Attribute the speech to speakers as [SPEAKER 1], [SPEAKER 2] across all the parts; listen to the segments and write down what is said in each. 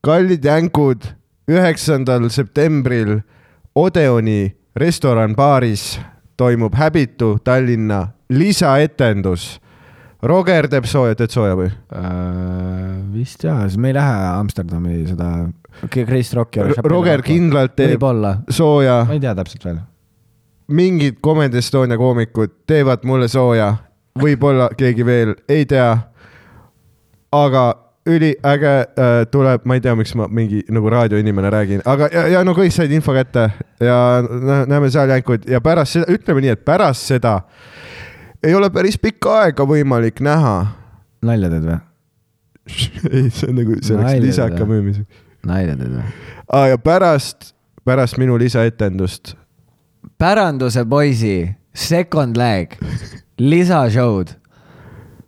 [SPEAKER 1] kallid jänkud , üheksandal septembril Odeoni restoran baaris toimub häbitu Tallinna lisaetendus . Roger teeb sooja , teed sooja või ?
[SPEAKER 2] Äh, vist jaa , siis me ei lähe Amsterdami seda , Chris Rocki .
[SPEAKER 1] Roger kindlalt teeb
[SPEAKER 2] võib-olla ,
[SPEAKER 1] sooja
[SPEAKER 2] ma ei tea täpselt veel .
[SPEAKER 1] mingid Comedy Estonia koomikud teevad mulle sooja , võib-olla keegi veel , ei tea . aga üliäge äh, tuleb , ma ei tea , miks ma mingi nagu raadioinimene räägin , aga ja, ja no kõik said info kätte ja nä- näeme seal jänkuid ja pärast seda , ütleme nii , et pärast seda ei ole päris pikka aega võimalik näha .
[SPEAKER 2] nalja teed või ?
[SPEAKER 1] ei , see on nagu selleks
[SPEAKER 2] Nalja
[SPEAKER 1] lisaka
[SPEAKER 2] teha.
[SPEAKER 1] müümiseks .
[SPEAKER 2] nalja teed või ?
[SPEAKER 1] aa ja pärast , pärast minu lisaetendust
[SPEAKER 3] päranduse poisi second leg , lisashow'd .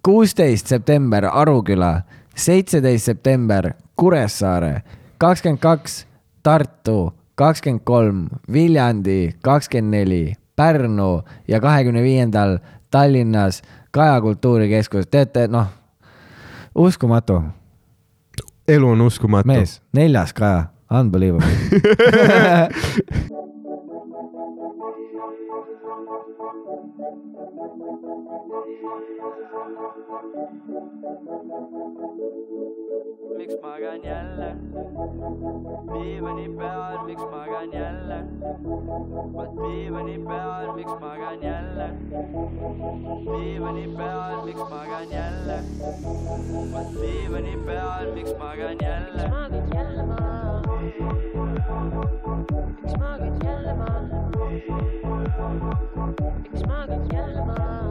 [SPEAKER 3] kuusteist september Aruküla , seitseteist september Kuressaare , kakskümmend kaks Tartu , kakskümmend kolm Viljandi , kakskümmend neli Pärnu ja kahekümne viiendal Tallinnas Kaja Kultuurikeskus , teate noh ,
[SPEAKER 2] uskumatu ,
[SPEAKER 1] elu on uskumatu .
[SPEAKER 2] mees , neljas Kaja , unbelievable .
[SPEAKER 4] miks magan jälle ? diivani peal , miks magan jälle ? vot diivani peal , miks magan jälle ? diivani peal , miks magan jälle ? vot diivani peal , miks magan jälle ?
[SPEAKER 5] Miks magid jälle maha? Miks magid jälle maha? Miks magid jälle maha?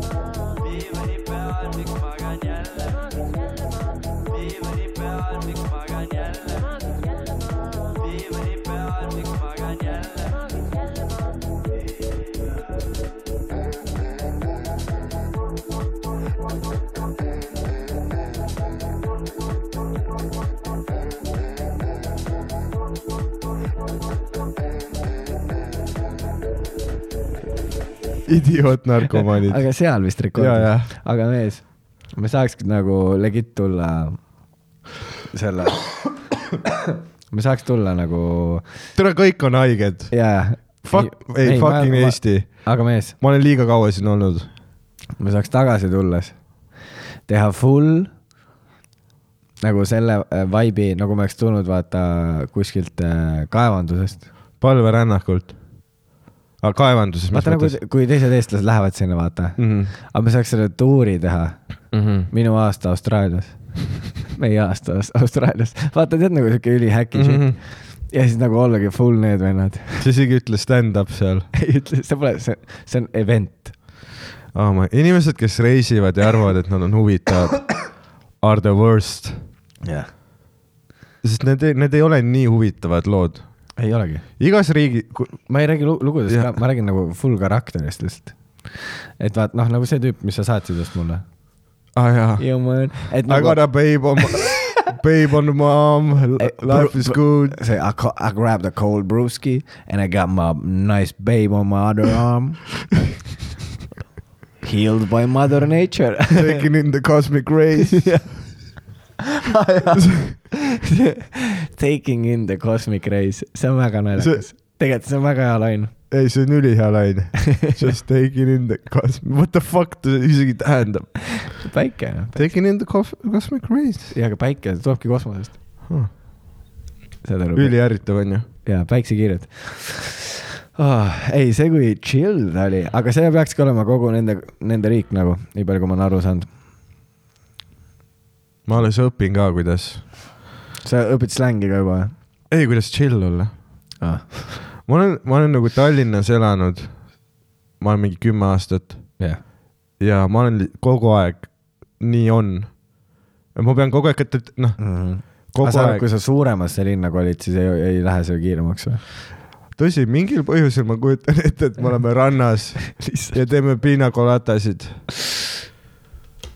[SPEAKER 5] maha?
[SPEAKER 4] diivani peal , miks magan jälle ?
[SPEAKER 5] Magid jälle maha?
[SPEAKER 4] diivani peal , miks magan jälle ?
[SPEAKER 5] Magid jälle maha?
[SPEAKER 4] diivani peal , miks magan jälle ?
[SPEAKER 5] Magid jälle maha?
[SPEAKER 1] idioot narkomaanid .
[SPEAKER 2] aga seal vist
[SPEAKER 1] Ja, ja.
[SPEAKER 2] rekord . aga mees , me saakski nagu legit tulla selle , me saaks tulla nagu
[SPEAKER 1] tere , kõik on haiged .
[SPEAKER 2] jaa .
[SPEAKER 1] Fuck , ei, fucking ma, Eesti .
[SPEAKER 2] aga mees ,
[SPEAKER 1] ma olen liiga kaua siin olnud .
[SPEAKER 2] me saaks tagasi tulles teha full nagu selle äh, vibe'i , nagu me oleks tulnud vaata kuskilt äh, kaevandusest .
[SPEAKER 1] palverännakult . aga Ah, kaevanduses , mis
[SPEAKER 2] vaata nagu
[SPEAKER 1] mõttes ? Mhm.
[SPEAKER 2] kui teised eestlased lähevad sinna , vaata mm. . aga me saaks selle tuuri teha , minu aasta Austraalias . meie aasta Aus- Austraalias , vaata tead nagu siuke ülihäki mm
[SPEAKER 1] Mhm.
[SPEAKER 2] -hmm. shit ja siis nagu ollagi full need vennad .
[SPEAKER 1] sa isegi ütle stand-up seal .
[SPEAKER 2] ei ütle , see pole , see , see on event .
[SPEAKER 1] Oh my- inimesed , kes reisivad ja arvavad , et nad on huvitavad , are the worst .
[SPEAKER 2] jah ,
[SPEAKER 1] sest need , need ei ole nii huvitavad lood .
[SPEAKER 2] ei olegi
[SPEAKER 1] igas riigi ,
[SPEAKER 2] ma ei räägi lu- lugudest
[SPEAKER 1] Jah.
[SPEAKER 2] ka , ma räägin nagu full karakterist lihtsalt . et vaat noh , nagu see tüüp , mis sa saatsid just mulle .
[SPEAKER 1] aa Ah, jaa .
[SPEAKER 2] et nagu-
[SPEAKER 1] I got a babe on , babe on mom , life is good .
[SPEAKER 2] see I, ca- I grabbed a cold brewski and I got my nice babe on my other arm . Healed by mother nature .
[SPEAKER 1] Taking in the cosmic rays .
[SPEAKER 2] Taking in the cosmic rays , see on väga naljakas . tegelikult see on väga hea lain .
[SPEAKER 1] ei , see on ülihea laine . Just taking in the cosmic , what the fuck ta isegi tähendab .
[SPEAKER 2] päike ,
[SPEAKER 1] Taking in the cos- cosmic rays .
[SPEAKER 2] jaa , aga päike tulebki kosmosest . saad aru ?
[SPEAKER 1] üliärritav onju .
[SPEAKER 2] jaa , päiksekiired oh, . ei , see kui chill ta oli , aga see peakski olema kogu nende , nende riik nagu , nii palju , kui ma olen aru saanud .
[SPEAKER 1] ma alles õpin ka , kuidas .
[SPEAKER 2] sa õpid slängi ka juba või
[SPEAKER 1] ei , kuidas chill olla .
[SPEAKER 2] ah. ?
[SPEAKER 1] ma olen , ma olen nagu Tallinnas elanud . ma olen mingi kümme aastat
[SPEAKER 2] jah yeah. .
[SPEAKER 1] ja ma olen li- kogu aeg , nii on . ma pean kogu aeg , et , et noh ,
[SPEAKER 2] Mm -hmm.
[SPEAKER 1] kogu
[SPEAKER 2] aga sa ,
[SPEAKER 1] aeg
[SPEAKER 2] kui , sa suuremasse linna kolid , siis ei, ei lähe see kiiremaks või ?
[SPEAKER 1] tõsi , mingil põhjusel ma kujutan ette , et me oleme rannas ja teeme piina colatasid .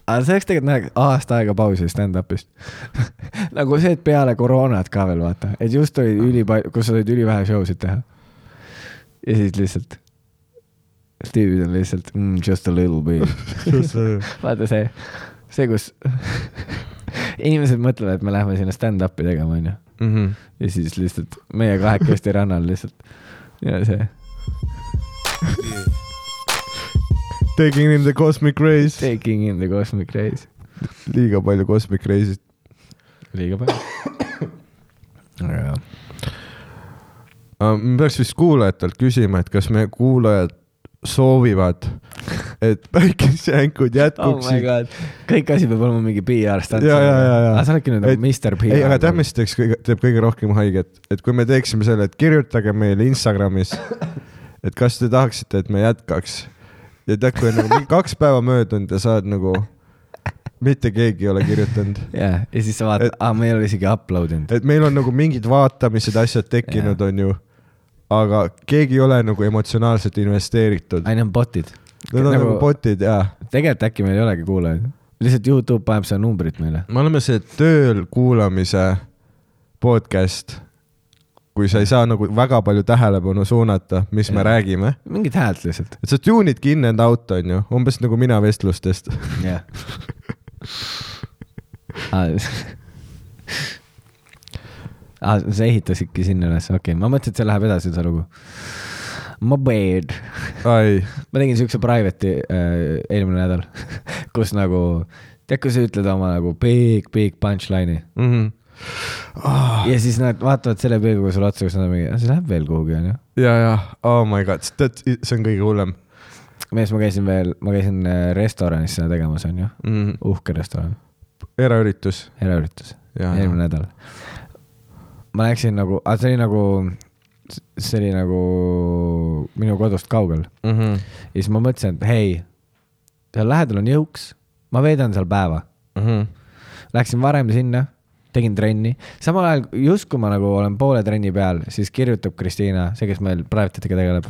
[SPEAKER 2] aga see oleks tegelikult nagu aasta aega pausi stand-up'ist . nagu see , et peale koroonat ka veel vaata , et just oli ülipalju , kus sa said ülivähe show sid teha . ja siis lihtsalt tüübid on lihtsalt mm, just a little bit vaata see , see , kus inimesed mõtlevad , et me läheme sinna stand-up'i tegema , onju .
[SPEAKER 1] Mhm.
[SPEAKER 2] ja siis lihtsalt meie kahekesti rannal lihtsalt ja see
[SPEAKER 1] Taking in the cosmic race .
[SPEAKER 2] taking in the cosmic rays .
[SPEAKER 1] liiga palju cosmic race'it .
[SPEAKER 2] liiga palju . aga jah ,
[SPEAKER 1] Ah, me peaks vist kuulajatelt küsima , et kas meie kuulajad soovivad , et päikesejänkud
[SPEAKER 2] oh my
[SPEAKER 1] jätkuksid .
[SPEAKER 2] god , kõik asi peab olema mingi PR stand .
[SPEAKER 1] Ja, ja, ja, ja.
[SPEAKER 2] aga sa oledki nüüd
[SPEAKER 1] Et-
[SPEAKER 2] nagu Mr PR .
[SPEAKER 1] ei , aga tead , mis teeks kõige , teeb kõige rohkem haiget , et kui me teeksime selle , et kirjutage meile Instagramis , et kas te tahaksite , et me jätkaks . ja tead , kui on nagu mingi kaks päeva möödunud ja sa oled nagu , mitte keegi ei ole kirjutanud .
[SPEAKER 2] jah , ja siis sa vaatad
[SPEAKER 1] Et- ,
[SPEAKER 2] aa , me ei ole isegi upload inud .
[SPEAKER 1] et meil on nagu mingid vaatamised , asjad tekkinud ,
[SPEAKER 2] Jaa.
[SPEAKER 1] onju . aga keegi ei ole nagu emotsionaalselt investeeritud .
[SPEAKER 2] ai , need on bot'id .
[SPEAKER 1] Need on nagu, nagu bot'id ja .
[SPEAKER 2] tegelikult äkki meil ei olegi kuulajaid , lihtsalt Youtube paneb seda numbrit meile .
[SPEAKER 1] me oleme see tööl kuulamise podcast , kui sa ei saa nagu väga palju tähelepanu suunata , mis ja. me
[SPEAKER 2] Jaa.
[SPEAKER 1] räägime .
[SPEAKER 2] mingit häält lihtsalt .
[SPEAKER 1] et sa tune'idki in and out onju , umbes nagu mina vestlustest .
[SPEAKER 2] jah . Ah, sa ehitasidki sinna üles , okei okay. , ma mõtlesin , et see läheb edasi , see lugu . My bad .
[SPEAKER 1] ai ,
[SPEAKER 2] ma tegin siukse private'i äh, eelmine nädal , kus nagu , tead , kui sa ütled oma nagu big , big punchline'i
[SPEAKER 1] Mhm. Ah,
[SPEAKER 2] ja siis nad vaatavad selle pilguga sulle otsa , kus nad on mingi , see läheb veel kuhugi , onju .
[SPEAKER 1] ja , ja , oh my god , tead , see on kõige hullem
[SPEAKER 2] mees , ma käisin veel , ma käisin äh, restoranis seda tegemas , onju .
[SPEAKER 1] mm. .
[SPEAKER 2] uhke restoran ,
[SPEAKER 1] eraüritus .
[SPEAKER 2] eraüritus .
[SPEAKER 1] Jaa,
[SPEAKER 2] eelmine
[SPEAKER 1] jaa.
[SPEAKER 2] nädal . ma läksin nagu , see oli nagu , see oli nagu minu kodust kaugel
[SPEAKER 1] Mm -hmm.
[SPEAKER 2] ja siis ma mõtlesin , et hei , seal lähedal on jõuks , ma veedan seal päeva .
[SPEAKER 1] mm -hmm.
[SPEAKER 2] Läksin varem sinna , tegin trenni , samal ajal justkui ma nagu olen poole trenni peal , siis kirjutab Kristiina , see , kes meil private'itega tegeleb ,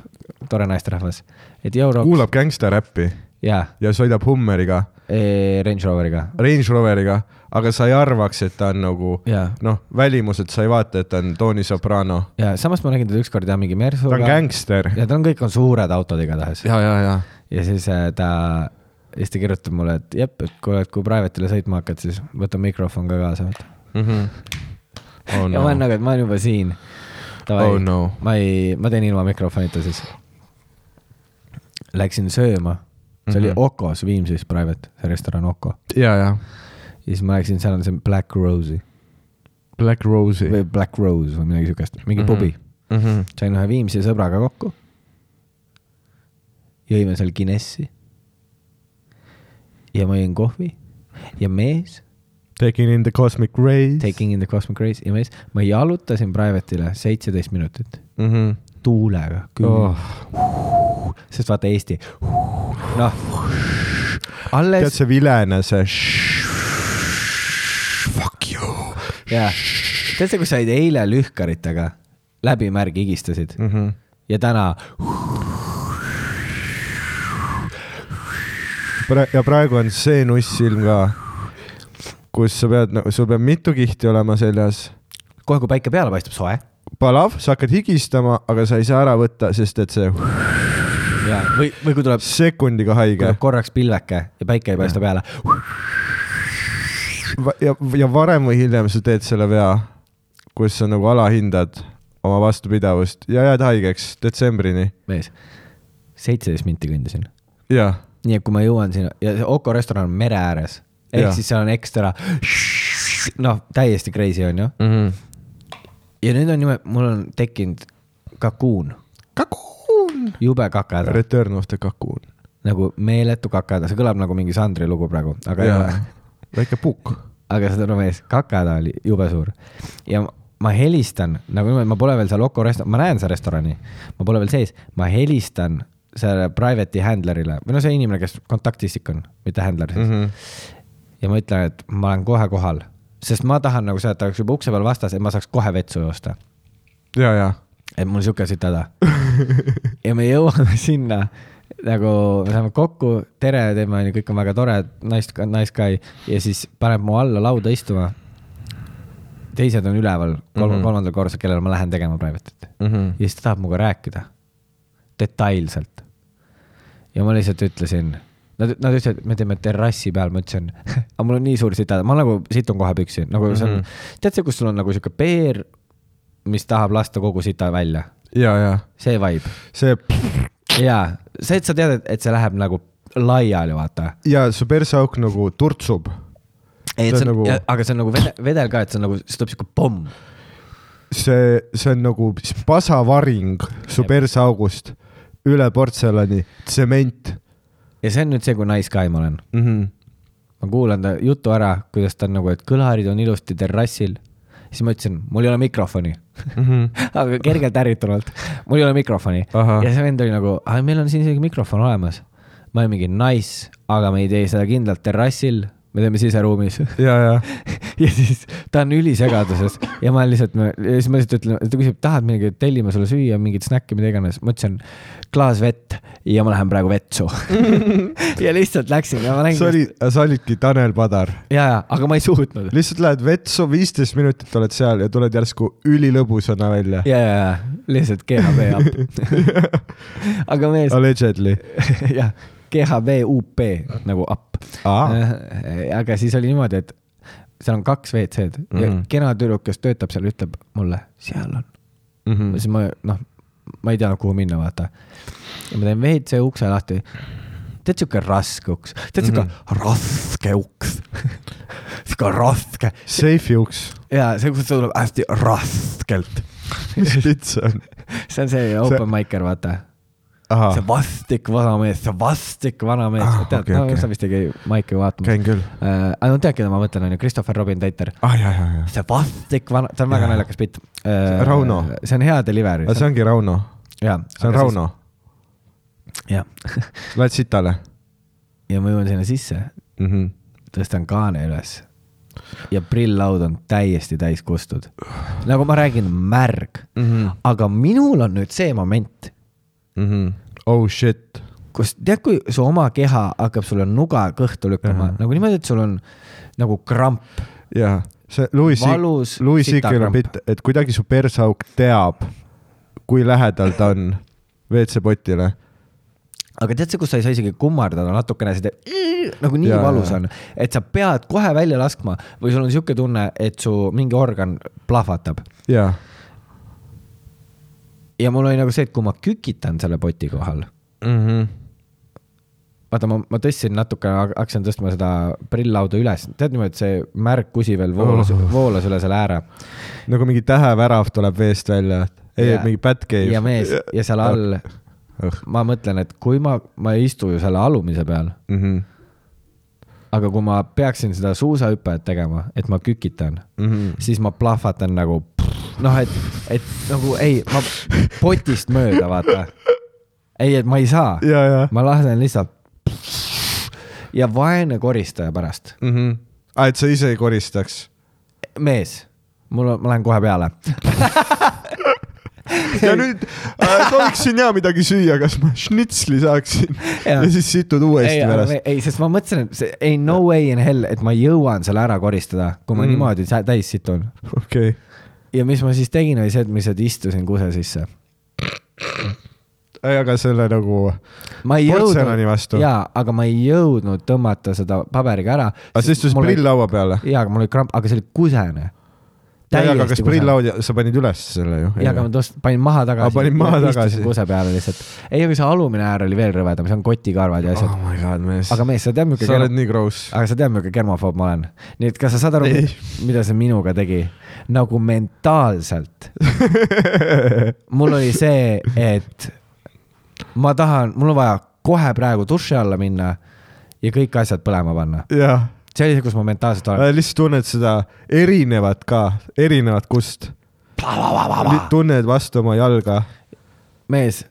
[SPEAKER 2] tore naisterahvas , et jõu- .
[SPEAKER 1] kuulab gängstaräppi
[SPEAKER 2] jaa ,
[SPEAKER 1] ja sõidab Hummeriga
[SPEAKER 2] Range Roveriga .
[SPEAKER 1] Range Roveriga , aga sa ei arvaks , et ta on nagu
[SPEAKER 2] jaa ,
[SPEAKER 1] noh , välimuselt sa ei vaata , et ta on Tony Soprano .
[SPEAKER 2] ja samas ma nägin teda ükskord jah , mingi
[SPEAKER 1] ta
[SPEAKER 2] Mersuga .
[SPEAKER 1] on gängster .
[SPEAKER 2] ja tal on , kõik on suured autod igatahes .
[SPEAKER 1] ja , ja , ja .
[SPEAKER 2] ja siis äh, ta , siis ta kirjutab mulle , et jep , et kuule , et kui private'ile sõitma hakkad , siis võta mikrofon ka kaasa , vaata .
[SPEAKER 1] Mhm. oh
[SPEAKER 2] ja
[SPEAKER 1] no
[SPEAKER 2] ma , olen nagu , et ma olen juba siin .
[SPEAKER 1] oh no .
[SPEAKER 2] ma ei , ma teen ilma mikrofonita siis . Läksin sööma , see oli
[SPEAKER 1] Mhm.
[SPEAKER 2] Okos Viimsis private , see restoran Oko .
[SPEAKER 1] ja , ja .
[SPEAKER 2] ja siis ma läksin , seal on see Black Rose'i
[SPEAKER 1] Black Rose'i .
[SPEAKER 2] või Black Rose või midagi siukest , mingi
[SPEAKER 1] Mhm.
[SPEAKER 2] pubi . sain ühe Viimsi sõbraga kokku . jõime seal Guinessi . ja ma jõin kohvi ja mees ,
[SPEAKER 1] Taking in the cosmic rays .
[SPEAKER 2] Taking in the Cosmic Race ja mees , ma jalutasin private'ile seitseteist minutit
[SPEAKER 1] mm . -hmm.
[SPEAKER 2] tuulega , külm
[SPEAKER 1] Oh.
[SPEAKER 2] oh. , sest vaata Eesti , noh , alles
[SPEAKER 1] tead see vilene see . Fuck you
[SPEAKER 2] ja tead sa , kui said eile lühkaritega läbi märgi higistasid
[SPEAKER 1] mm . -hmm.
[SPEAKER 2] ja täna ,
[SPEAKER 1] Pra- ja praegu on see nusssilm ka , kus sa pead , sul peab mitu kihti olema seljas
[SPEAKER 2] kohe kui päike peale paistab , soe
[SPEAKER 1] palav , sa hakkad higistama , aga sa ei saa ära võtta , sest et see
[SPEAKER 2] ja või , või kui tuleb ,
[SPEAKER 1] sekundiga haige
[SPEAKER 2] tuleb korraks pilveke ja päike ei paista peale ,
[SPEAKER 1] Va- ja , ja varem või hiljem sa teed selle vea , kus sa nagu alahindad oma vastupidavust ja jääd haigeks detsembrini .
[SPEAKER 2] mees , seitseteist minti kõndisin .
[SPEAKER 1] jah ,
[SPEAKER 2] nii et kui ma jõuan sinna ja see Oko restoran on mere ääres , ehk
[SPEAKER 1] Jah.
[SPEAKER 2] siis seal on ekstra , noh , täiesti crazy onju . ja nüüd on niimoodi , mul on tekkinud kakuun . kakuun . jube kakahäda ,
[SPEAKER 1] Return of the Cocoon .
[SPEAKER 2] nagu meeletu kakahäda , see kõlab nagu mingi Sandri lugu praegu , aga ei ole .
[SPEAKER 1] väike pukk .
[SPEAKER 2] aga saad aru , mees , kakahäda oli jube suur ja ma- ma helistan nagu niimoodi , ma pole veel seal Oko restoran , ma näen seda restorani , ma pole veel sees , ma helistan selle private'i handler'ile või no see inimene , kes kontaktisik on , mitte handler siis mm .
[SPEAKER 1] Mhm.
[SPEAKER 2] -hmm. ja ma ütlen , et ma olen kohe kohal , sest ma tahan nagu seda , et ta oleks juba ukse peal vastas , et ma saaks kohe vetsu joosta .
[SPEAKER 1] ja , ja .
[SPEAKER 2] et mul sihuke siit häda . ja me jõuame sinna nagu , me saame kokku , tere teeme , onju , kõik on väga tore , nice , nice guy ja siis paneb mu alla lauda istuma . teised on üleval kolm mm
[SPEAKER 1] Mhm.
[SPEAKER 2] -hmm. kolmandal korrusel , kellele Mhm. ma lähen tegema private'it mm . -hmm. ja siis ta tahab minuga rääkida detailselt . ja ma lihtsalt ütlesin , nad , nad ütlesid , et me teeme terrassi peal , ma ütlesin , aga mul on nii suur sita , ma nagu situn kohe püksi , nagu see on mm , -hmm. tead see , kus sul on nagu sihuke peer , mis tahab lasta kogu sita välja ,
[SPEAKER 1] ja , ja
[SPEAKER 2] see vibe
[SPEAKER 1] see
[SPEAKER 2] jaa , see , et sa tead , et see läheb nagu laiali , vaata .
[SPEAKER 1] ja su perseauk nagu turtsub .
[SPEAKER 2] ei ,
[SPEAKER 1] See
[SPEAKER 2] et
[SPEAKER 1] on
[SPEAKER 2] see on
[SPEAKER 1] nagu-
[SPEAKER 2] nagu... , aga see on nagu vedel, vedel ka , et see on nagu , see tuleb siuke pomm .
[SPEAKER 1] see , see on nagu pasavaring su
[SPEAKER 2] Jep.
[SPEAKER 1] perseaugust üle portselani , tsement
[SPEAKER 2] ja see on nüüd see , kui nice guy ma olen .
[SPEAKER 1] mm . -hmm.
[SPEAKER 2] ma kuulan ta jutu ära , kuidas ta on nagu , et kõlarid on ilusti terrassil . siis ma ütlesin , mul ei ole mikrofoni mm . -hmm. aga kergelt ärritunult , mul ei ole mikrofoni .
[SPEAKER 1] Ahah.
[SPEAKER 2] ja see vend oli nagu , meil on siin isegi mikrofon olemas . ma olin mingi nice , aga me ei tee seda kindlalt terrassil , me teeme siseruumis
[SPEAKER 1] ja , ja
[SPEAKER 2] ja siis ta on ülisegaduses ja ma lihtsalt , ja siis ma lihtsalt ütlen , ta küsib , tahad midagi , tellime sulle süüa , mingit snäkki , mida iganes . ma ütlesin klaas vett ja ma lähen praegu vetsu . ja lihtsalt läksin ja ma läksin .
[SPEAKER 1] sa olid , sa olidki Tanel Padar ,
[SPEAKER 2] ja , ja , aga ma ei suutnud . ja ,
[SPEAKER 1] lihtsalt lähed vetsu , viisteist minutit oled seal ja tuled järsku ülilõbusana välja .
[SPEAKER 2] ja , ja lihtsalt GHB up . aga mees ,
[SPEAKER 1] Allegedly .
[SPEAKER 2] jah , GHB up nagu up .
[SPEAKER 1] Aa.
[SPEAKER 2] aga siis oli niimoodi , et seal on kaks WC-d mm -hmm. ja
[SPEAKER 1] Mhm.
[SPEAKER 2] kena tüdruk , kes töötab seal , ütleb mulle , seal on
[SPEAKER 1] Mhm.
[SPEAKER 2] mm. . siis ma , noh , ma ei teadnud , kuhu minna , vaata . ja ma teen WC ukse lahti . tead , sihuke raske uks , tead ,
[SPEAKER 1] Mhm.
[SPEAKER 2] sihuke mm -hmm. raske uks . sihuke raske
[SPEAKER 1] Seifi uks ,
[SPEAKER 2] ja see , kus see tuleb hästi raskelt .
[SPEAKER 1] mis pilt see on ?
[SPEAKER 2] see on see open miker , vaata . see
[SPEAKER 1] ahah ,
[SPEAKER 2] vastik vanamees , see vastik vanamees
[SPEAKER 1] Ah,
[SPEAKER 2] ah, , tead
[SPEAKER 1] okei,
[SPEAKER 2] okay, , no
[SPEAKER 1] okei.
[SPEAKER 2] okay. sa vist ei käi maike vaatamas .
[SPEAKER 1] Käin küll.
[SPEAKER 2] äh, . aga no tead , keda ma mõtlen , onju , Christopher Robin Tater .
[SPEAKER 1] ah ja , ja , ja .
[SPEAKER 2] see vastik vana , ta on väga
[SPEAKER 1] Jaa.
[SPEAKER 2] naljakas bitt
[SPEAKER 1] See-
[SPEAKER 2] äh,
[SPEAKER 1] Rauno.
[SPEAKER 2] see on hea delivery .
[SPEAKER 1] aga see ongi Rauno ,
[SPEAKER 2] jaa .
[SPEAKER 1] see on Rauno ..
[SPEAKER 2] jah .
[SPEAKER 1] Lähed sitale
[SPEAKER 2] ja ma jõuan sinna sisse ,
[SPEAKER 1] mm ? -hmm.
[SPEAKER 2] tõstan kaane üles ja prilllaud on täiesti täis kustud . nagu ma räägin , märg mm . -hmm. aga minul on nüüd see moment ,
[SPEAKER 1] Mm -hmm. Oh shit .
[SPEAKER 2] kus tead , kui su oma keha hakkab sulle nuga kõhtu lükkama
[SPEAKER 1] Ahah.
[SPEAKER 2] nagu niimoodi , et sul on nagu kramp .
[SPEAKER 1] jaa , see Louis
[SPEAKER 2] Valus
[SPEAKER 1] Siik- , Louis Siikil on
[SPEAKER 2] sitakramp.
[SPEAKER 1] pilt , et kuidagi su perseauk teab , kui lähedal ta on WC-potile .
[SPEAKER 2] aga tead sa , kus sa ei saa isegi kummardada natukene seda , nagu nii
[SPEAKER 1] Jaa,
[SPEAKER 2] ja, valus
[SPEAKER 1] jaa.
[SPEAKER 2] on , et sa pead kohe välja laskma või sul on sihuke tunne , et su mingi organ plahvatab
[SPEAKER 1] jaa ,
[SPEAKER 2] ja mul oli nagu see , et kui ma kükitan selle poti kohal mm .
[SPEAKER 1] Mm-hmm.
[SPEAKER 2] -hmm. vaata , ma , ma tõstsin natuke , hakkasin tõstma seda prilllauda üles , tead niimoodi , et see märg kusi veel voolas
[SPEAKER 1] Oh.
[SPEAKER 2] oh. , voolas üle selle ääre .
[SPEAKER 1] nagu mingi tähevärav tuleb veest välja . ei , mingi Batcave .
[SPEAKER 2] ja mees ja seal all , ma mõtlen , et kui ma , ma ei istu ju selle alumise peal ,
[SPEAKER 1] mm . -hmm.
[SPEAKER 2] aga kui ma peaksin seda suusahüpet tegema , et ma kükitan mm ,
[SPEAKER 1] Mhm.
[SPEAKER 2] -hmm. siis ma plahvatan nagu noh , et , et nagu ei , ma potist mööda , vaata . ei , et ma ei saa
[SPEAKER 1] ja , ja
[SPEAKER 2] ma lasen lihtsalt . ja vaene koristaja pärast ,
[SPEAKER 1] mm . -hmm. Ah, et sa ise ei koristaks .
[SPEAKER 2] mees , mul on , ma lähen kohe peale .
[SPEAKER 1] ja nüüd äh, sooviksin ja midagi süüa , kas ma šnitsli saaksin ja,
[SPEAKER 2] Jaa.
[SPEAKER 1] ja siis situd uuesti
[SPEAKER 2] ei
[SPEAKER 1] ei, , pärast .
[SPEAKER 2] ei , sest ma mõtlesin , et see ei no way in hell , et ma jõuan selle ära koristada , kui ma
[SPEAKER 1] Mm.
[SPEAKER 2] mm. niimoodi sä- täis situn .
[SPEAKER 1] okei okay. ,
[SPEAKER 2] ja mis ma siis tegin , oli see , et ma lihtsalt istusin kuse sisse .
[SPEAKER 1] aga selle nagu ,
[SPEAKER 2] ma ei
[SPEAKER 1] Portselani
[SPEAKER 2] jõudnud
[SPEAKER 1] vastu? ,
[SPEAKER 2] jaa , aga ma ei jõudnud tõmmata seda paberiga ära .
[SPEAKER 1] aga sa istusid prill . laua peale ?
[SPEAKER 2] jaa , aga mul oli kramp , aga see oli kusene .
[SPEAKER 1] ei , aga kas prill laua , sa panid üles selle ju ?
[SPEAKER 2] ja , aga ma tõst- , panin maha tagasi .
[SPEAKER 1] Aa, Ah, panin maha tagasi.
[SPEAKER 2] kuse peale lihtsalt . ei , aga see alumine äär oli veel rõvedam , see on kotikarvad ja asjad
[SPEAKER 1] oh . my god , mees .
[SPEAKER 2] aga mees , sa tead , milline
[SPEAKER 1] sa oled nii gross .
[SPEAKER 2] aga sa tead , milline germofoob ma olen . nii et kas sa saad aru
[SPEAKER 1] Ei. ,
[SPEAKER 2] mida see minuga tegi ? nagu mentaalselt . mul oli see , et ma tahan , mul on vaja kohe praegu duši alla minna ja kõik asjad põlema panna .
[SPEAKER 1] jah ,
[SPEAKER 2] see oli see , kus ma mentaalselt olen .
[SPEAKER 1] lihtsalt tunned seda erinevat ka , erinevat kust . tunned vastu oma jalga .
[SPEAKER 2] mees ,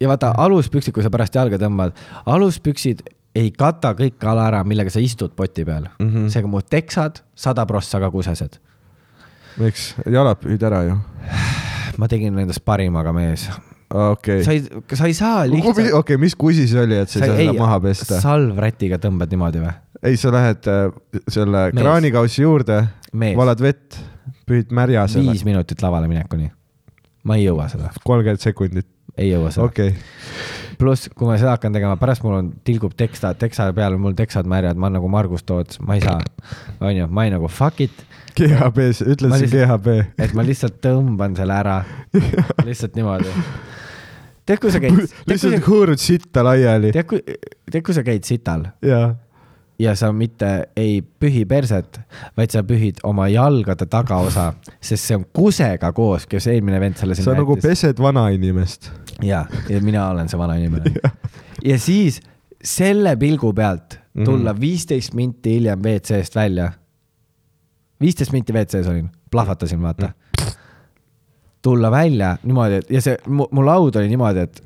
[SPEAKER 2] ja vaata aluspüksid , kui sa pärast jalga tõmbad , aluspüksid ei kata kõik ala ära , millega sa istud poti peal mm -hmm. . seega mu teksad sada prossa ka kusesed .
[SPEAKER 1] miks , jalad püüd ära ju .
[SPEAKER 2] ma tegin nendest parimaga , mees .
[SPEAKER 1] okei
[SPEAKER 2] sa . ei , sa ei saa
[SPEAKER 1] okei
[SPEAKER 2] lihtsalt .
[SPEAKER 1] okay, , mis kusi see oli , et sa ei saa seda maha pesta ?
[SPEAKER 2] salvrätiga tõmbad niimoodi või ?
[SPEAKER 1] ei , sa lähed äh, selle
[SPEAKER 2] Mees.
[SPEAKER 1] kraanikausi juurde ,
[SPEAKER 2] Mees.
[SPEAKER 1] valad vett , püüd märja selle
[SPEAKER 2] viis . minutit lavale minekuni . ma ei jõua seda ,
[SPEAKER 1] kolmkümmend sekundit ,
[SPEAKER 2] ei jõua seda .
[SPEAKER 1] okei .
[SPEAKER 2] pluss , kui ma seda hakkan tegema , pärast mul on , tilgub teksta , teksa peal on mul teksad märjad , ma olen nagu Margus Toots , ma ei saa , onju , ma ei nagu fuck it ,
[SPEAKER 1] GHB-s , ütle
[SPEAKER 2] Ma
[SPEAKER 1] siis
[SPEAKER 2] lihtsalt-
[SPEAKER 1] GHB .
[SPEAKER 2] et ma lihtsalt tõmban selle ära , lihtsalt niimoodi . tead , kui sa käid , tead , kui
[SPEAKER 1] lihtsalt
[SPEAKER 2] sa ,
[SPEAKER 1] hõõrud sitta laiali .
[SPEAKER 2] tead , kui , tead , kui sa käid sital
[SPEAKER 1] jaa .
[SPEAKER 2] ja sa mitte ei pühi perset , vaid sa pühid oma jalgade tagaosa , sest see on kusega koos , kes eelmine vend selle
[SPEAKER 1] sa
[SPEAKER 2] sinna
[SPEAKER 1] nagu
[SPEAKER 2] jättis .
[SPEAKER 1] pesed vanainimest .
[SPEAKER 2] ja , ja mina olen see vana inimene . ja siis selle pilgu pealt
[SPEAKER 1] Mhm.
[SPEAKER 2] tulla viisteist minti hiljem WC-st välja . viisteist minti WC-s olin , plahvatasin , vaata .
[SPEAKER 1] Mm.
[SPEAKER 2] tulla välja niimoodi , et ja see , mu laud oli niimoodi , et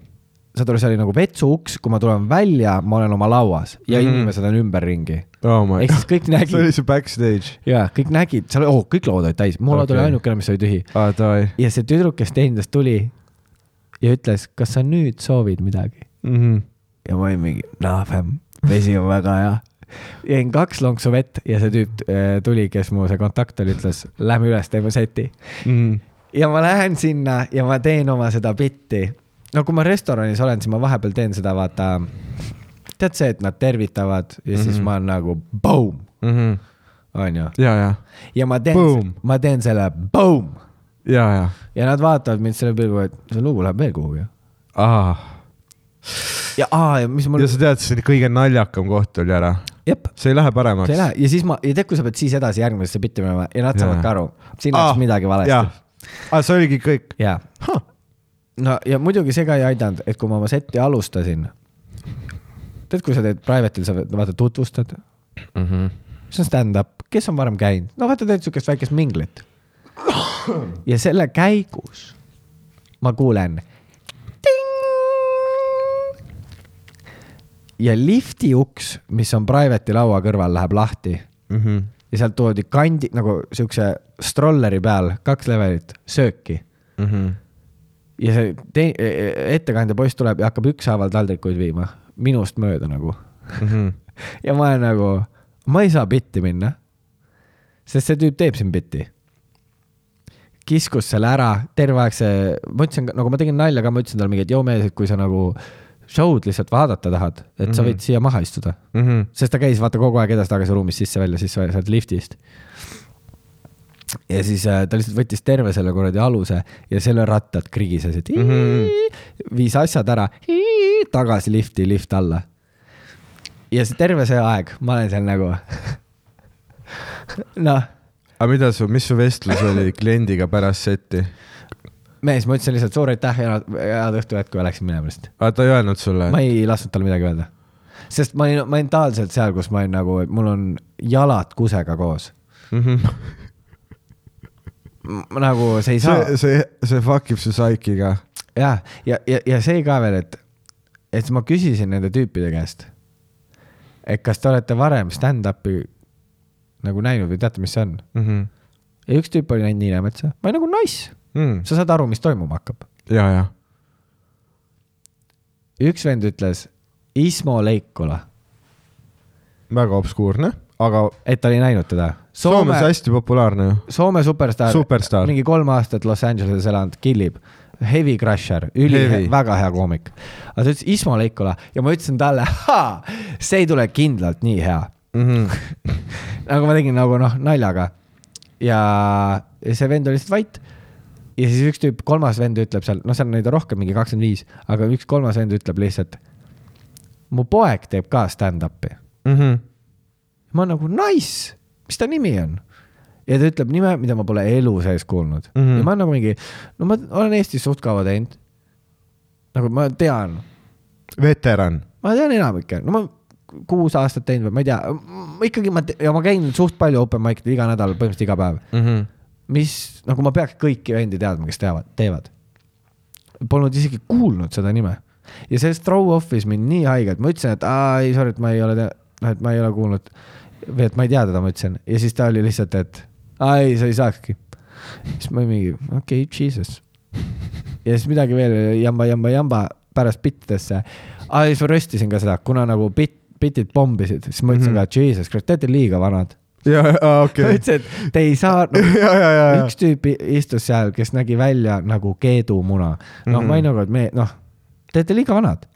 [SPEAKER 2] saad aru , see oli nagu vetsuuks , kui ma tulen välja , ma olen oma lauas ja
[SPEAKER 1] Mhm.
[SPEAKER 2] inimesed on ümberringi
[SPEAKER 1] oh my
[SPEAKER 2] Ehk siis kõik nägid-
[SPEAKER 1] see oli see backstage .
[SPEAKER 2] ja kõik nägid , seal oh, kõik lood olid täis , mu okay. laud oli
[SPEAKER 1] Okei.
[SPEAKER 2] ainukene , mis oli tühi .
[SPEAKER 1] aa , Ah, davai .
[SPEAKER 2] ja see tüdruk , kes teenindas tuli ja ütles , kas sa nüüd soovid midagi
[SPEAKER 1] Mhm,
[SPEAKER 2] ja ma olin mingi , noh , vesi on väga hea . jäin kaks lonksu vett ja see tüüp eh, tuli , kes mu see kontakt oli , ütles , lähme üles , teeme seti .
[SPEAKER 1] mhm,
[SPEAKER 2] ja ma lähen sinna ja ma teen oma seda bitti . no kui ma restoranis olen , siis ma vahepeal teen seda , vaata , tead see , et nad tervitavad ja siis mm -hmm. ma olen nagu , boom ,
[SPEAKER 1] mhm.
[SPEAKER 2] onju
[SPEAKER 1] ja , ja ,
[SPEAKER 2] ja ma teen
[SPEAKER 1] Boom. ,
[SPEAKER 2] ma teen selle boom
[SPEAKER 1] ja , ja .
[SPEAKER 2] ja nad vaatavad mind selle pilguga , et see lugu läheb veel kuhugi .
[SPEAKER 1] aa .
[SPEAKER 2] ja aa , ja mis mul
[SPEAKER 1] ja , sa tead , see oli kõige naljakam koht oli ära .
[SPEAKER 2] jep ,
[SPEAKER 1] see ei lähe paremaks .
[SPEAKER 2] see ei lähe ja siis ma , ja tead , kui sa pead siis edasi järgmisesse bitti minema ja nad
[SPEAKER 1] Jaa.
[SPEAKER 2] saavad ka aru , siin läks midagi valesti .
[SPEAKER 1] Ah, jaa , aa , see oligi kõik .
[SPEAKER 2] ja , no ja muidugi see ka ei aidanud , et kui ma oma setti alustasin . tead , kui sa teed private'il , sa vaata tutvustad , Mhm. see on stand-up , kes on varem käinud , no vaata , teed siukest väikest minglit . ja selle käigus ma kuulen . ja lifti uks , mis on private'i laua kõrval , läheb lahti
[SPEAKER 1] Mhm,
[SPEAKER 2] ja sealt toodi kandi nagu siukse strolleri peal kaks levelit sööki
[SPEAKER 1] mhm,
[SPEAKER 2] ja see te- , ettekandja poiss tuleb ja hakkab ükshaaval taldrikuid viima , minust mööda nagu
[SPEAKER 1] mhm,
[SPEAKER 2] ja ma olen nagu , ma ei saa bitti minna . sest see tüüp teeb siin bitti . kiskus selle ära , terve aeg see , ma ütlesin , nagu ma tegin nalja ka , ma ütlesin talle mingi , et joo mees , et kui sa nagu show'd lihtsalt vaadata tahad , et mm -hmm. sa võid siia maha istuda .
[SPEAKER 1] mhm.
[SPEAKER 2] sest ta käis vaata kogu aeg edasi-tagasi ruumis sisse-välja , sisse sealt liftist . ja siis äh, ta lihtsalt võttis terve selle kuradi aluse ja selle rattad krigisesid mm , -hmm. viis asjad ära , tagasi lifti , lift alla . ja see terve see aeg , ma olen seal nagu noh ,
[SPEAKER 1] aga Ah, mida su , mis su vestlus oli kliendiga pärast seti ?
[SPEAKER 2] mees , ma ütlesin lihtsalt suur aitäh ja head õhtu jätku ja läksin minema lihtsalt .
[SPEAKER 1] aa , Ah, ta ei öelnud sulle ?
[SPEAKER 2] ma ei lasknud talle midagi öelda , sest ma olin mentaalselt seal , kus ma olin nagu , et mul on jalad kusega koos M- nagu see ei saa
[SPEAKER 1] Mhm. see , see , see fuck ib su psyke'iga .
[SPEAKER 2] ja , ja , ja , ja see ka veel , et , et ma küsisin nende tüüpide käest , et kas te olete varem stand-up'i nagu näinud või teate , mis see on . ja üks tüüp oli näinud Niinemetsa , ma olin nagu nice , sa saad aru , mis toimuma hakkab .
[SPEAKER 1] Hmm. ja , ja .
[SPEAKER 2] üks vend ütles Ismo Leikola ,
[SPEAKER 1] väga obskuurne , aga
[SPEAKER 2] et ta oli näinud teda .
[SPEAKER 1] Soomes hästi populaarne ju .
[SPEAKER 2] Soome superstaar,
[SPEAKER 1] Superstaar.
[SPEAKER 2] mingi kolm aastat Los Angeleses elanud , killib . Heavy Crusher ,
[SPEAKER 1] Heavy.
[SPEAKER 2] üli , väga hea koomik . aga ta ütles Ismo Leikola ja ma ütlesin talle , see ei tule kindlalt nii hea . Mhm. nagu ma tegin nagu noh , naljaga . ja ja see vend oli lihtsalt vait . ja siis üks tüüp , kolmas vend ütleb seal , noh , seal on neid rohkem , mingi kakskümmend viis , aga üks kolmas vend ütleb lihtsalt . mu poeg teeb ka stand-up'i Mhm. ma nagu nice , mis ta nimi on ? ja ta ütleb nime , mida ma pole elu sees kuulnud mm .
[SPEAKER 1] Mhm.
[SPEAKER 2] -hmm. ja ma olen nagu mingi , no ma olen Eestis suht kaua teinud . nagu ma tean ,
[SPEAKER 1] veteran .
[SPEAKER 2] ma tean enamikke , no ma kuus aastat teinud või ma ei tea , ikkagi ma te- ja ma käin suht palju open mic iga nädal , põhimõtteliselt iga päev . mis , nagu ma peaks kõiki vendi teadma , kes teavad , teevad . Polnud isegi kuulnud seda nime ja see throw-off'is mind nii haigelt , ma ütlesin , et aa ei sorry , et ma ei ole , noh , et ma ei ole kuulnud või et ma ei tea teda , ma ütlesin ja siis ta oli lihtsalt , et aa ei , sa ei saakski . siis ma mingi okei okay, , jesus . ja siis midagi veel jamba , jamba , jamba pärast bittidesse . aa ja siis ma röstisin ka seda , kuna nagu bitt , bitid pommisid , siis ma ütlesin mm -hmm. ka , jesus , kas te olete liiga vanad
[SPEAKER 1] ja , aa , okei okay. .
[SPEAKER 2] okay. . ma ütlesin , et te ei saa no,
[SPEAKER 1] ja , ja , ja , ja .
[SPEAKER 2] üks tüüp i- istus seal , kes nägi välja nagu keedumuna . noh , ma olin nagu , et me , noh , te olete liiga vanad .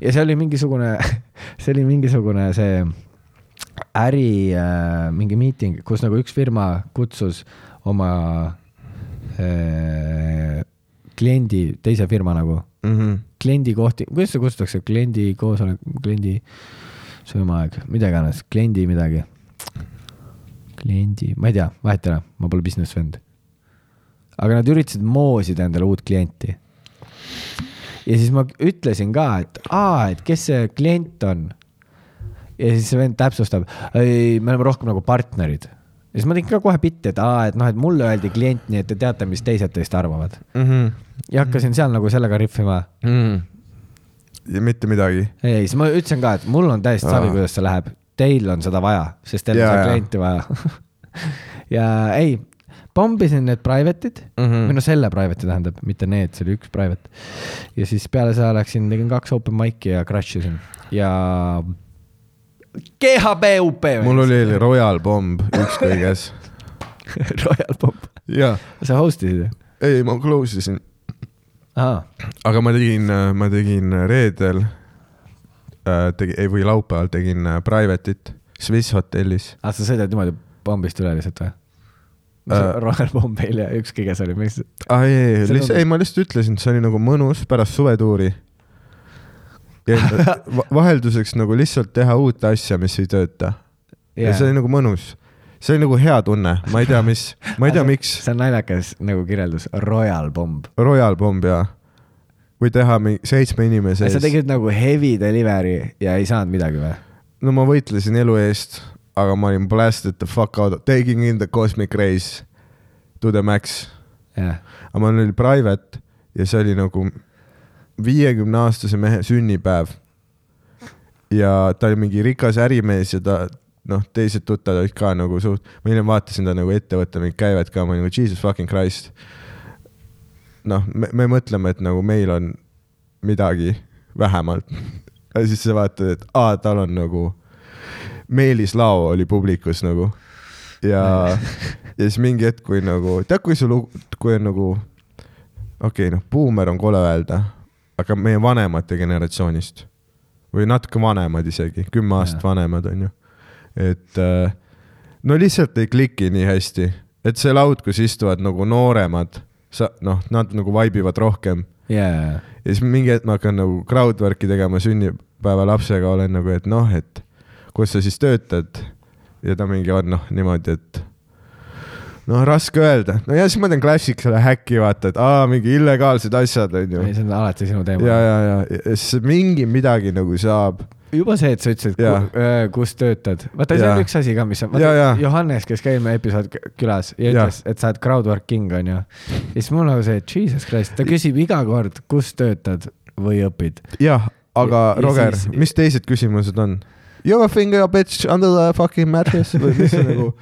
[SPEAKER 2] ja see oli mingisugune , see oli mingisugune see äri äh, mingi miiting , kus nagu üks firma kutsus oma äh, kliendi , teise firma nagu ,
[SPEAKER 1] mhmh .
[SPEAKER 2] kliendi kohti , kuidas seda kutsutakse , kliendi koosolek , kliendi söömaaeg , mida iganes , kliendi midagi . kliendi , ma ei tea , vahet ei ole , ma pole business vend . aga nad üritasid moosida endale uut klienti . ja siis ma ütlesin ka , et aa , et kes see klient on . ja siis see vend täpsustab , ei , me oleme rohkem nagu partnerid . ja siis ma tegin ka kohe bitti , et aa , et noh , et mulle öeldi klient , nii et te teate , mis teised teist arvavad . ja hakkasin seal nagu sellega rihvima Mhm.
[SPEAKER 1] ja mitte midagi .
[SPEAKER 2] ei , ei , siis ma ütlesin ka , et mul on täiesti savi ,
[SPEAKER 1] Aa.
[SPEAKER 2] kuidas see läheb . Teil on seda vaja , sest teil on
[SPEAKER 1] Jaa,
[SPEAKER 2] seda
[SPEAKER 1] jaa.
[SPEAKER 2] klienti vaja . ja ei , pommisin need private'id mm ,
[SPEAKER 1] Mhm.
[SPEAKER 2] -hmm. või no selle private'i tähendab , mitte need , see oli üks private . ja siis peale seda läksin , tegin kaks open mic'i ja crash isin ja . GHBUP .
[SPEAKER 1] mul . oli Royal Bomb ükskõik kes .
[SPEAKER 2] Royal Pop ,
[SPEAKER 1] jaa ,
[SPEAKER 2] sa host isid ju ?
[SPEAKER 1] ei , ma close isin ,
[SPEAKER 2] aa ,
[SPEAKER 1] aga ma tegin , ma tegin reedel , tegi , ei või laupäeval tegin äh, private'it Swiss hotellis .
[SPEAKER 2] Ah, sa sõidad niimoodi pommist üle lihtsalt või ?
[SPEAKER 1] Äh.
[SPEAKER 2] Royal Pop ei ole , ükski , kes oli , miks ?
[SPEAKER 1] ah ei , ei ,
[SPEAKER 2] See
[SPEAKER 1] lihtsalt ,
[SPEAKER 2] tundub-
[SPEAKER 1] ei ma lihtsalt ütlesin , see oli nagu mõnus pärast suvetuuri . ja va- vahelduseks nagu lihtsalt teha uut asja , mis ei tööta yeah. . ja see oli nagu mõnus . see oli nagu hea tunne , ma ei tea , mis , ma ei tea , miks
[SPEAKER 2] see on naljakas nagu kirjeldus , Royal Bomb .
[SPEAKER 1] Royal Bomb ja , või teha mingi seitsme inimese
[SPEAKER 2] sa
[SPEAKER 1] ees .
[SPEAKER 2] tegid nagu heavy delivery ja ei saanud midagi või ?
[SPEAKER 1] no ma võitlesin elu eest , aga ma olin blasted the fuck out , taking in the cosmic race to the max .
[SPEAKER 2] jah ,
[SPEAKER 1] aga mul oli private ja see oli nagu viiekümne aastase mehe sünnipäev . ja ta oli mingi rikas ärimees ja ta noh , teised tuttavad olid ka nagu suht , ma hiljem vaatasin ta nagu ettevõtte mingit käivet ka , ma olin nagu jesus fucking christ . noh , me , me mõtleme , et nagu meil on midagi vähemalt . ja siis sa vaatad , et aa , tal on nagu , Meelis Lao oli publikus nagu ja , ja siis mingi hetk , kui nagu , tead , kui sul , kui on nagu , okei okay, , noh , buumer on kole öelda , aga meie vanemate generatsioonist või natuke vanemad isegi , kümme aastat
[SPEAKER 2] Jaa.
[SPEAKER 1] vanemad on ju , et äh, no lihtsalt ei kliki nii hästi , et see laud , kus istuvad nagu nooremad , sa noh , nad nagu vaibivad rohkem
[SPEAKER 2] ja , ja ,
[SPEAKER 1] ja siis mingi hetk ma hakkan nagu crowdwork'i tegema sünnipäeva lapsega , olen nagu , et noh , et kus sa siis töötad ja ta mingi on noh , niimoodi , et noh , raske öelda . no ja siis ma teen klassikale häkki , vaata , et aa , mingi illegaalsed asjad onju
[SPEAKER 2] ja . ei , see on alati sinu
[SPEAKER 1] ja , ja
[SPEAKER 2] teema .,
[SPEAKER 1] ja , ja siis mingi midagi nagu saab .
[SPEAKER 2] juba see , et sa ütlesid
[SPEAKER 1] Jaa. ,
[SPEAKER 2] kus töötad , vaata , see
[SPEAKER 1] Jaa.
[SPEAKER 2] on üks asi ka , mis on ,
[SPEAKER 1] Jaa, jaa.
[SPEAKER 2] Johannes , kes käib meie episood k- külas ja
[SPEAKER 1] Jaa.
[SPEAKER 2] ütles , et sa oled crowdworking onju . ja siis mul nagu see , et jesus christ , ta küsib iga kord , kus töötad või õpid .
[SPEAKER 1] jah , aga
[SPEAKER 2] Ja- ja
[SPEAKER 1] Roger ,
[SPEAKER 2] siis-
[SPEAKER 1] mis teised küsimused on ? You a finger bitch under the fucking mattress või mis see nagu ,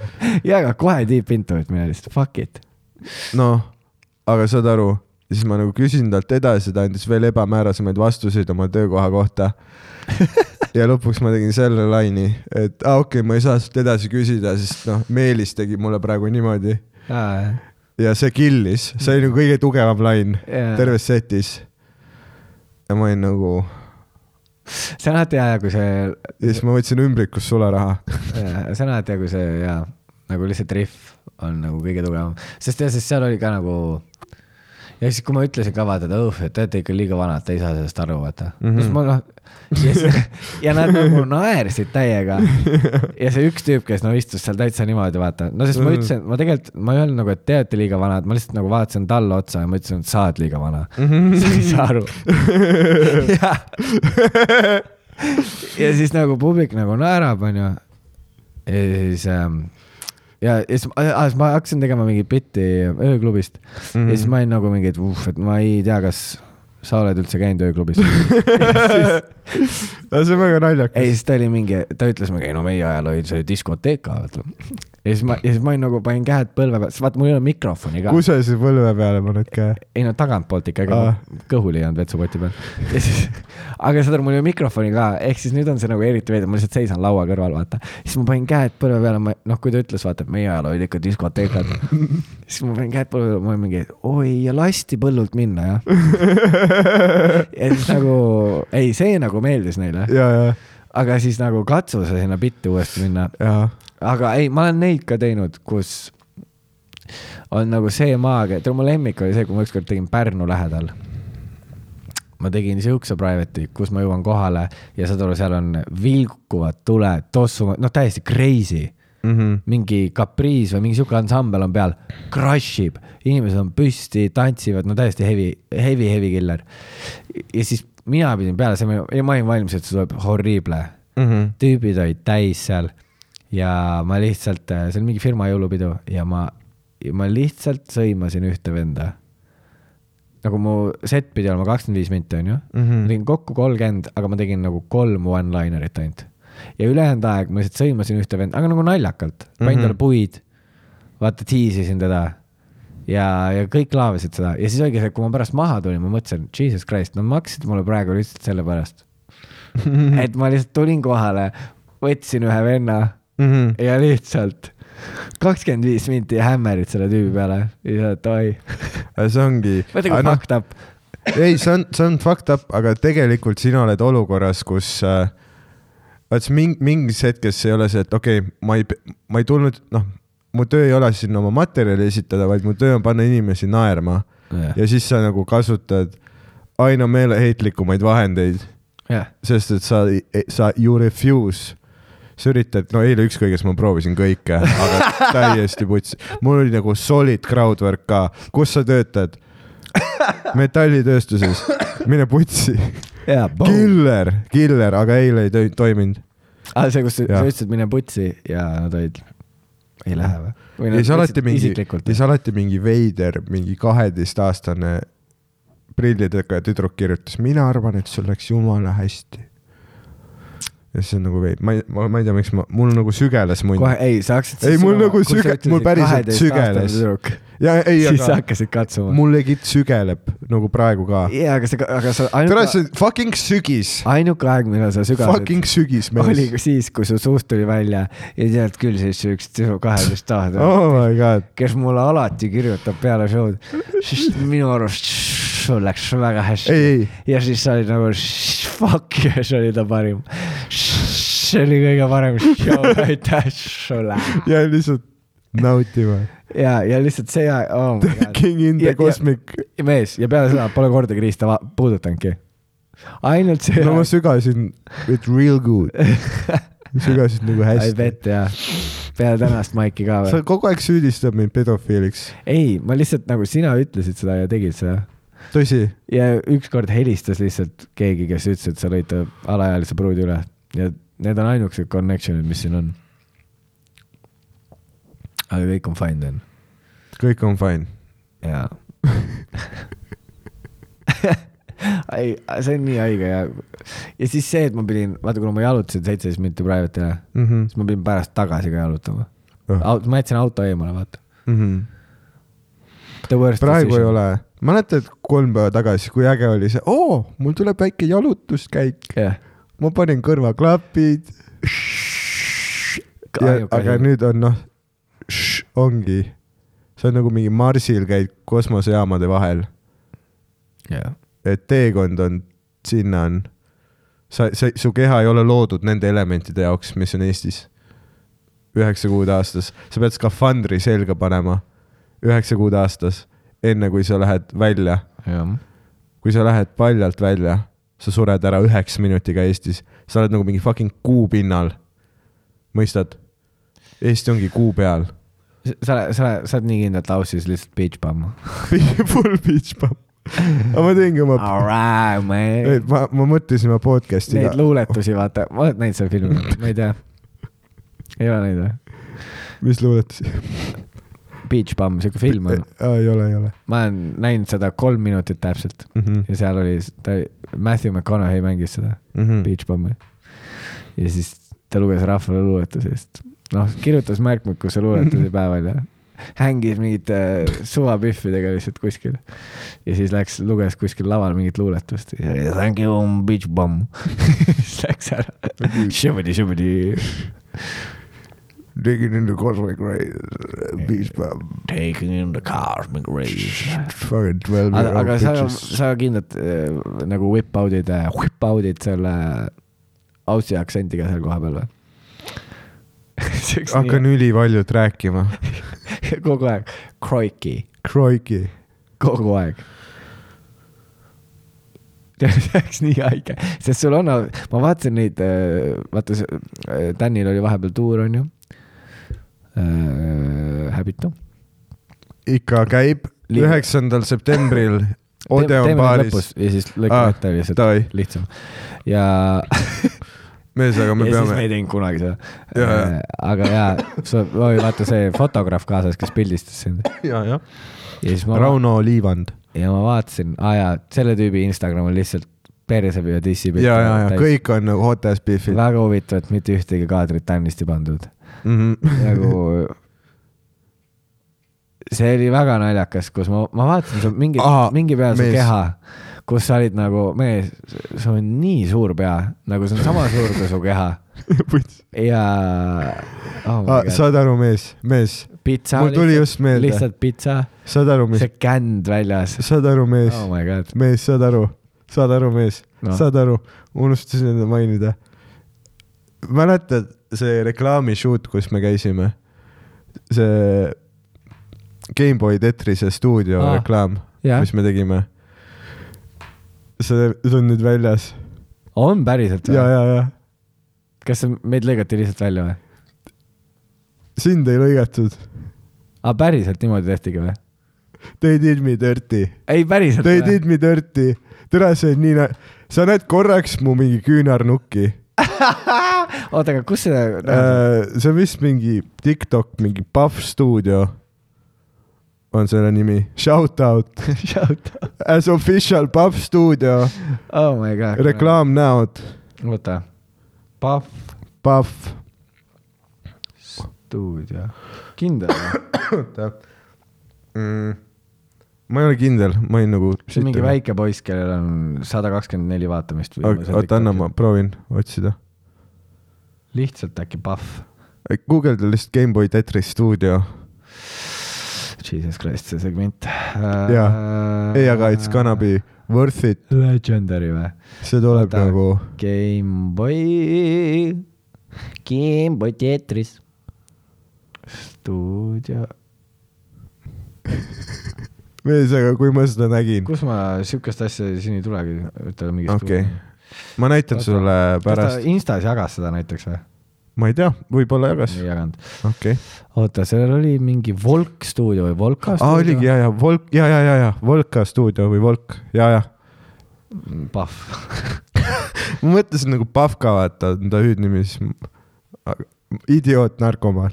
[SPEAKER 2] ja , aga kohe deep into , et mina lihtsalt fuck it .
[SPEAKER 1] noh , aga saad aru , siis ma nagu küsin talt edasi , ta andis veel ebamäärasemaid vastuseid oma töökoha kohta . ja lõpuks ma tegin selle laine , et aa ah, okei okay, , ma ei saa sult edasi küsida , sest noh , Meelis tegi mulle praegu niimoodi
[SPEAKER 2] ja ,
[SPEAKER 1] ja see killis , see oli nagu kõige tugevam lain
[SPEAKER 2] Jaa.
[SPEAKER 1] yeah. terves setis . ja ma olin nagu ,
[SPEAKER 2] see on alati hea , kui
[SPEAKER 1] ja
[SPEAKER 2] see
[SPEAKER 1] siis ma võtsin ümbrikust sularaha .
[SPEAKER 2] Jaa, see on alati nagu see ja nagu lihtsalt riff on nagu kõige tugevam , sest ja siis seal oli ka nagu ja siis , kui ma ütlesin ka vaata , et õh , et te olete ikka liiga vanad , te ei saa sellest aru , vaata mm . -hmm. siis ma noh ja, siis, ja nad nagu naersid täiega . ja see üks tüüp , kes no istus seal täitsa niimoodi , vaata , no sest ma ütlesin , ma tegelikult , ma ei öelnud nagu , et te olete liiga vanad , ma lihtsalt nagu vaatasin talle otsa ja ma ütlesin , et sa oled liiga vana mm .
[SPEAKER 1] Mhm.
[SPEAKER 2] -hmm. sa ei saa aru . jah ja siis nagu publik nagu naerab , onju . ja siis ähm, , ja ja siis , siis ma hakkasin tegema mingit bitti ööklubist mm . -hmm. ja siis
[SPEAKER 1] Mhm.
[SPEAKER 2] ma olin nagu mingi , et vuh , et ma ei tea , kas sa oled üldse käinud ööklubis .
[SPEAKER 1] see on väga naljakas
[SPEAKER 2] ei ,. siis ta oli mingi , ta ütles mingi , ei no meie ajal oli see diskoteek , vaata . ja siis ma , ja siis ma olin nagu panin käed põlve peale , sest vaata , mul ei ole mikrofoni ka .
[SPEAKER 1] kus sa siis põlve peale paned käe ?
[SPEAKER 2] ei no tagantpoolt ikkagi
[SPEAKER 1] Aa.
[SPEAKER 2] ah. , kõhul ei olnud vetsupoti peal . ja siis , aga saad aru , mul ei ole mikrofoni ka , ehk siis nüüd on see nagu eriti veider , ma lihtsalt seisan laua kõrval , vaata . siis ma panin käed põlve peale , ma , noh , kui ta ütles , vaata , et meie ajal olid ikka diskoteekad . siis ma panin käed põlve peale , ma olin mingi , oi , ja lasti põllult minna , jah . ja siis nagu , ei , see nagu meeldis neile .
[SPEAKER 1] ja , ja ,
[SPEAKER 2] aga siis nagu katsu sa sinna bitti uuesti minna .
[SPEAKER 1] ja ,
[SPEAKER 2] aga ei , ma olen neid ka teinud , kus on nagu see maaga , tead mu lemmik oli see , kui ma ükskord tegin Pärnu lähedal . ma tegin siukse private'i , kus ma jõuan kohale ja saad aru , seal on vilkuvad tuled , tossuvad , noh , täiesti crazy .
[SPEAKER 1] Mhm,
[SPEAKER 2] mingi kapriis või mingi siuke ansambel on peal , crash ib , inimesed on püsti , tantsivad , no täiesti heavy , heavy , heavy killer . ja siis mina pidin peale , see , ma olin valmis , et see tuleb horrible
[SPEAKER 1] ja .
[SPEAKER 2] tüübid olid täis seal ja ma lihtsalt , see oli mingi firma jõulupidu ja ma , ma lihtsalt sõimasin ühte venda . nagu mu set pidi olema kakskümmend viis minti , onju . ma tegin kokku kolmkümmend , aga ma tegin nagu kolm one-linerit ainult . ja ülejäänud aeg ma lihtsalt sõimasin ühte venda , aga nagu naljakalt , panin
[SPEAKER 1] Mhm.
[SPEAKER 2] talle puid , vaata , tiisisin teda ja , ja kõik laavisid seda ja siis oligi see , kui ma pärast maha tulin , ma mõtlesin , jesus christ , no maksid mulle praegu lihtsalt sellepärast , et ma lihtsalt tulin kohale , võtsin ühe venna
[SPEAKER 1] mhm.
[SPEAKER 2] ja lihtsalt kakskümmend viis minti hämmerid selle tüübi peale ja et oi ,
[SPEAKER 1] see ongi .
[SPEAKER 2] vaata kui fucked up .
[SPEAKER 1] ei , see on , see on fucked up , aga tegelikult sina oled olukorras , kus äh, vaat see mingi , mingis hetkes ei ole see , et okei okay, , ma ei , ma ei tulnud , noh , mu töö ei ole siin oma materjali esitada , vaid mu töö on panna inimesi naerma ja siis sa nagu kasutad aina meeleheitlikumaid vahendeid ,
[SPEAKER 2] jah ,
[SPEAKER 1] sest et sa , sa you refuse sa üritad , no eile ükskõiges ma proovisin kõike , aga täiesti putsi . mul oli nagu solid crowdwork ka , kus sa töötad ? metallitööstuses , mine putsi .
[SPEAKER 2] jaa .
[SPEAKER 1] killer , killer , aga eile ei tö- toiminud .
[SPEAKER 2] aa , Ah, see , kus sa
[SPEAKER 1] Jah.
[SPEAKER 2] sa ütlesid , mine putsi ja nad olid , ei lähe või ? või
[SPEAKER 1] ja siis alati mingi ,
[SPEAKER 2] isiklikult
[SPEAKER 1] ja ? siis alati mingi veider , mingi kaheteistaastane prillidega tüdruk kirjutas , mina arvan , et sul läks jumala hästi . ja siis on nagu veid- , ma ei , ma , ma ei tea , miks ma , mul nagu sügeles mund .
[SPEAKER 2] kohe , ei , sa hakkasid
[SPEAKER 1] Ei, mul nagu süge- mul päriselt sügeles. ja ei ,
[SPEAKER 2] siis sa
[SPEAKER 1] aga
[SPEAKER 2] hakkasid katsuma .
[SPEAKER 1] mul legit sügeleb nagu praegu ka .
[SPEAKER 2] jaa , aga sa , aga sa
[SPEAKER 1] tere ,
[SPEAKER 2] ainuke ,
[SPEAKER 1] see fucking sügis ,
[SPEAKER 2] ainuke aeg , millal sa sügavalt
[SPEAKER 1] fucking sügis
[SPEAKER 2] oli
[SPEAKER 1] mees .
[SPEAKER 2] siis , kui su suust tuli välja ja tead küll , siis üks tüdruk kaheteistaastane
[SPEAKER 1] oh my god ,
[SPEAKER 2] kes mulle alati kirjutab peale show'd , siis minu arust sul läks väga hästi .
[SPEAKER 1] ei , ei ,
[SPEAKER 2] ja siis sa olid nagu fuck ja see oli ta parim . see oli kõige parem show , aitäh sulle .
[SPEAKER 1] jäin lihtsalt nautima .
[SPEAKER 2] ja , ja lihtsalt see , oh my god ,
[SPEAKER 1] King in the
[SPEAKER 2] Ja- ja-
[SPEAKER 1] cosmic .
[SPEAKER 2] mees ja peale seda pole kordagi riista va- puudutanudki . ainult see
[SPEAKER 1] no ma sügasin with real good , sügasid nagu
[SPEAKER 2] I
[SPEAKER 1] hästi .
[SPEAKER 2] bet jah , peale tänast maiki ka
[SPEAKER 1] sa
[SPEAKER 2] või ?
[SPEAKER 1] kogu aeg süüdistad mind pedofiiliks ,
[SPEAKER 2] ei , ma lihtsalt nagu sina ütlesid seda ja tegid seda
[SPEAKER 1] tõsi ,
[SPEAKER 2] ja ükskord helistas lihtsalt keegi , kes ütles , et sa lõid ta alaealise pruudi üle ja need on ainukesed connection'id , mis siin on . aga kõik on fine then .
[SPEAKER 1] kõik on fine .
[SPEAKER 2] jaa . ei , see on nii haige ja , ja siis see , et ma pidin , vaata , kuna ma jalutasin seitseteist minutit private'ile , siis
[SPEAKER 1] Mhm.
[SPEAKER 2] ma pidin pärast tagasi ka jalutama .
[SPEAKER 1] Ah.
[SPEAKER 2] ma jätsin auto eemale , vaata . The worst
[SPEAKER 1] Mhm. praegu ei . ole , mäletad kolm päeva tagasi , kui äge oli see , oo , mul tuleb väike jalutuskäik ,
[SPEAKER 2] jah .
[SPEAKER 1] ma panin kõrvaklapid . aga nüüd on noh , ongi , see on nagu mingi Marsil käid kosmosejaamade vahel ,
[SPEAKER 2] jah .
[SPEAKER 1] et teekond on , sinna on , sa , sa , su keha ei ole loodud nende elementide jaoks , mis on Eestis . üheksa kuud aastas , sa pead skafandri selga panema üheksa kuud aastas , enne kui sa lähed välja
[SPEAKER 2] jah
[SPEAKER 1] kui sa lähed paljalt välja , sa sured ära üheksa minutiga Eestis , sa oled nagu mingi fucking kuu pinnal . mõistad ? Eesti ongi kuu peal .
[SPEAKER 2] sa , sa , sa sa oled nii kindlalt ausis lihtsalt beach bum .
[SPEAKER 1] Full beach pump . aga ma teengi oma ,
[SPEAKER 2] Alright , man .
[SPEAKER 1] ma , ma mõtlesin oma podcast'i
[SPEAKER 2] Neid , luuletusi , vaata , ma olen näinud seda filmi , ma ei tea . ei ole näinud või ?
[SPEAKER 1] mis luuletusi ?
[SPEAKER 2] Beach bum , siuke film on .
[SPEAKER 1] Eh, ei ole , ei ole
[SPEAKER 2] ma olen näinud seda kolm minutit täpselt
[SPEAKER 1] mm . -hmm.
[SPEAKER 2] ja seal oli , ta , Matthew McConaughey mängis seda
[SPEAKER 1] Mm -hmm.
[SPEAKER 2] Beach bum'i . ja siis ta luges rahvale luuletuse ja siis noh , kirjutas märkmikusse luuletusi päeval ja hängis mingite suvapühvidega lihtsalt kuskil . ja siis läks , luges kuskil laval mingit luuletust . Thank you , bitch bomb . siis läks ära . Shibidi , shibidi .
[SPEAKER 1] tegin enda kosmik viis päeva ,
[SPEAKER 2] Taking in the cosmic rays .
[SPEAKER 1] fucking twelve
[SPEAKER 2] aga ,
[SPEAKER 1] year
[SPEAKER 2] aga
[SPEAKER 1] old
[SPEAKER 2] sa ,
[SPEAKER 1] bitches .
[SPEAKER 2] sa kindlalt äh, nagu whip out'id , whip out'id selle Aussie aktsendiga seal kohapeal või ?
[SPEAKER 1] hakkan ülivaljult rääkima .
[SPEAKER 2] kogu aeg , kroiki ,
[SPEAKER 1] Kroiki .
[SPEAKER 2] kogu aeg . see oleks nii haige , sest sul on , ma vaatasin neid , vaata see , Tänil oli vahepeal tuur , onju . häbitu .
[SPEAKER 1] ikka käib
[SPEAKER 2] Liiv-
[SPEAKER 1] üheksandal septembril Odeon baaris .
[SPEAKER 2] ja siis
[SPEAKER 1] Aa,
[SPEAKER 2] lõikame ette lihtsalt ,
[SPEAKER 1] Ah, davai ,
[SPEAKER 2] lihtsam . ja
[SPEAKER 1] mees , aga me
[SPEAKER 2] ja siis me
[SPEAKER 1] peame
[SPEAKER 2] ei , teinud kunagi
[SPEAKER 1] Jaa,
[SPEAKER 2] seda Äh,
[SPEAKER 1] jaa. .
[SPEAKER 2] aga jaa , sul oli vaata see fotograaf kaasas , kes pildistas sind .
[SPEAKER 1] ja , jah .
[SPEAKER 2] ja siis ma ,
[SPEAKER 1] Rauno Liivand .
[SPEAKER 2] ja ma vaatasin , aa jaa , selle tüübi Instagram on lihtsalt perse ja dissi
[SPEAKER 1] ja , ja , ja . kõik on nagu hot ass beef'id .
[SPEAKER 2] väga huvitav , et mitte ühtegi kaadrit Tannist ei pandud .
[SPEAKER 1] Mhm.
[SPEAKER 2] nagu see oli väga naljakas , kus ma , ma vaatasin su mingi
[SPEAKER 1] Aa, ,
[SPEAKER 2] mingi peal su
[SPEAKER 1] mees.
[SPEAKER 2] keha , kus sa olid nagu mees , sul on nii suur pea , nagu see on sama suur kui su keha ja oh my God.
[SPEAKER 1] saad aru , mees , mees ,
[SPEAKER 2] pitsa .
[SPEAKER 1] Ah, mul tuli just meelde.
[SPEAKER 2] lihtsalt pitsa ,
[SPEAKER 1] saad aru , mis
[SPEAKER 2] see , känd väljas .
[SPEAKER 1] saad aru , mees
[SPEAKER 2] oh , my god ,
[SPEAKER 1] mees , saad aru , saad aru , mees
[SPEAKER 2] No.
[SPEAKER 1] no. , saad aru , unustasin enda mainida . mäletad see reklaamishoot , kus me käisime ? see Gameboy Tetrise stuudio ah,
[SPEAKER 2] Aa,
[SPEAKER 1] reklaam
[SPEAKER 2] jah.
[SPEAKER 1] yeah. , mis me tegime . see , see on nüüd väljas
[SPEAKER 2] on päriselt
[SPEAKER 1] ja ,
[SPEAKER 2] või ?
[SPEAKER 1] ja , ja
[SPEAKER 2] kas see- meid lõigati lihtsalt välja või ?
[SPEAKER 1] sind ei lõigatud .
[SPEAKER 2] aa , päriselt niimoodi tehtigi või ?
[SPEAKER 1] They did me dirty ,
[SPEAKER 2] ei , päriselt
[SPEAKER 1] they did me dirty . tere , see on nii na- , sa näed korraks mu mingi küünarnukki
[SPEAKER 2] oota , aga kus see äh, ,
[SPEAKER 1] Äh, see on vist mingi Tiktok , mingi Puff Studio on selle nimi . Shout out
[SPEAKER 2] shout out ,
[SPEAKER 1] as official Puff Studio
[SPEAKER 2] oh my god .
[SPEAKER 1] reklaamnäod ,
[SPEAKER 2] oota , Pahv
[SPEAKER 1] Puff .
[SPEAKER 2] stuudio , kindel või ?
[SPEAKER 1] Mm. ma ei ole kindel , ma olin nagu .
[SPEAKER 2] see on mingi . väike poiss , kellel on sada kakskümmend neli vaatamist .
[SPEAKER 1] oota , anna ma . proovin otsida .
[SPEAKER 2] lihtsalt äkki Pahv .
[SPEAKER 1] guugelda lihtsalt Gameboy Tetris stuudio .
[SPEAKER 2] Jesus Christ , see segment .
[SPEAKER 1] Jaa. ei , aga it's gonna be worth it ,
[SPEAKER 2] Legendary või ?
[SPEAKER 1] see tuleb
[SPEAKER 2] Oota.
[SPEAKER 1] nagu ,
[SPEAKER 2] Gameboy , Gameboy teatris . stuudio ,
[SPEAKER 1] mees , aga kui ma seda nägin ,
[SPEAKER 2] kus ma siukest asja siin ei tulegi , ütleme mingi
[SPEAKER 1] okei , ma näitan
[SPEAKER 2] Oota.
[SPEAKER 1] sulle
[SPEAKER 2] kas
[SPEAKER 1] pärast
[SPEAKER 2] ta , Instas jagas seda näiteks või ?
[SPEAKER 1] ma ei tea , võib-olla jagas ,
[SPEAKER 2] ei jaganud .
[SPEAKER 1] okei .
[SPEAKER 2] oota , sellel oli mingi Volk stuudio või Volka
[SPEAKER 1] aa , oligi
[SPEAKER 2] stuudio ?
[SPEAKER 1] ja , ja Volk , ja , ja , ja , ja Volka stuudio või Volk , ja , ja .
[SPEAKER 2] Pahv .
[SPEAKER 1] ma mõtlesin nagu Pavka , vaata , on ta hüüdnimi , siis m- aga- idioot , narkomaan .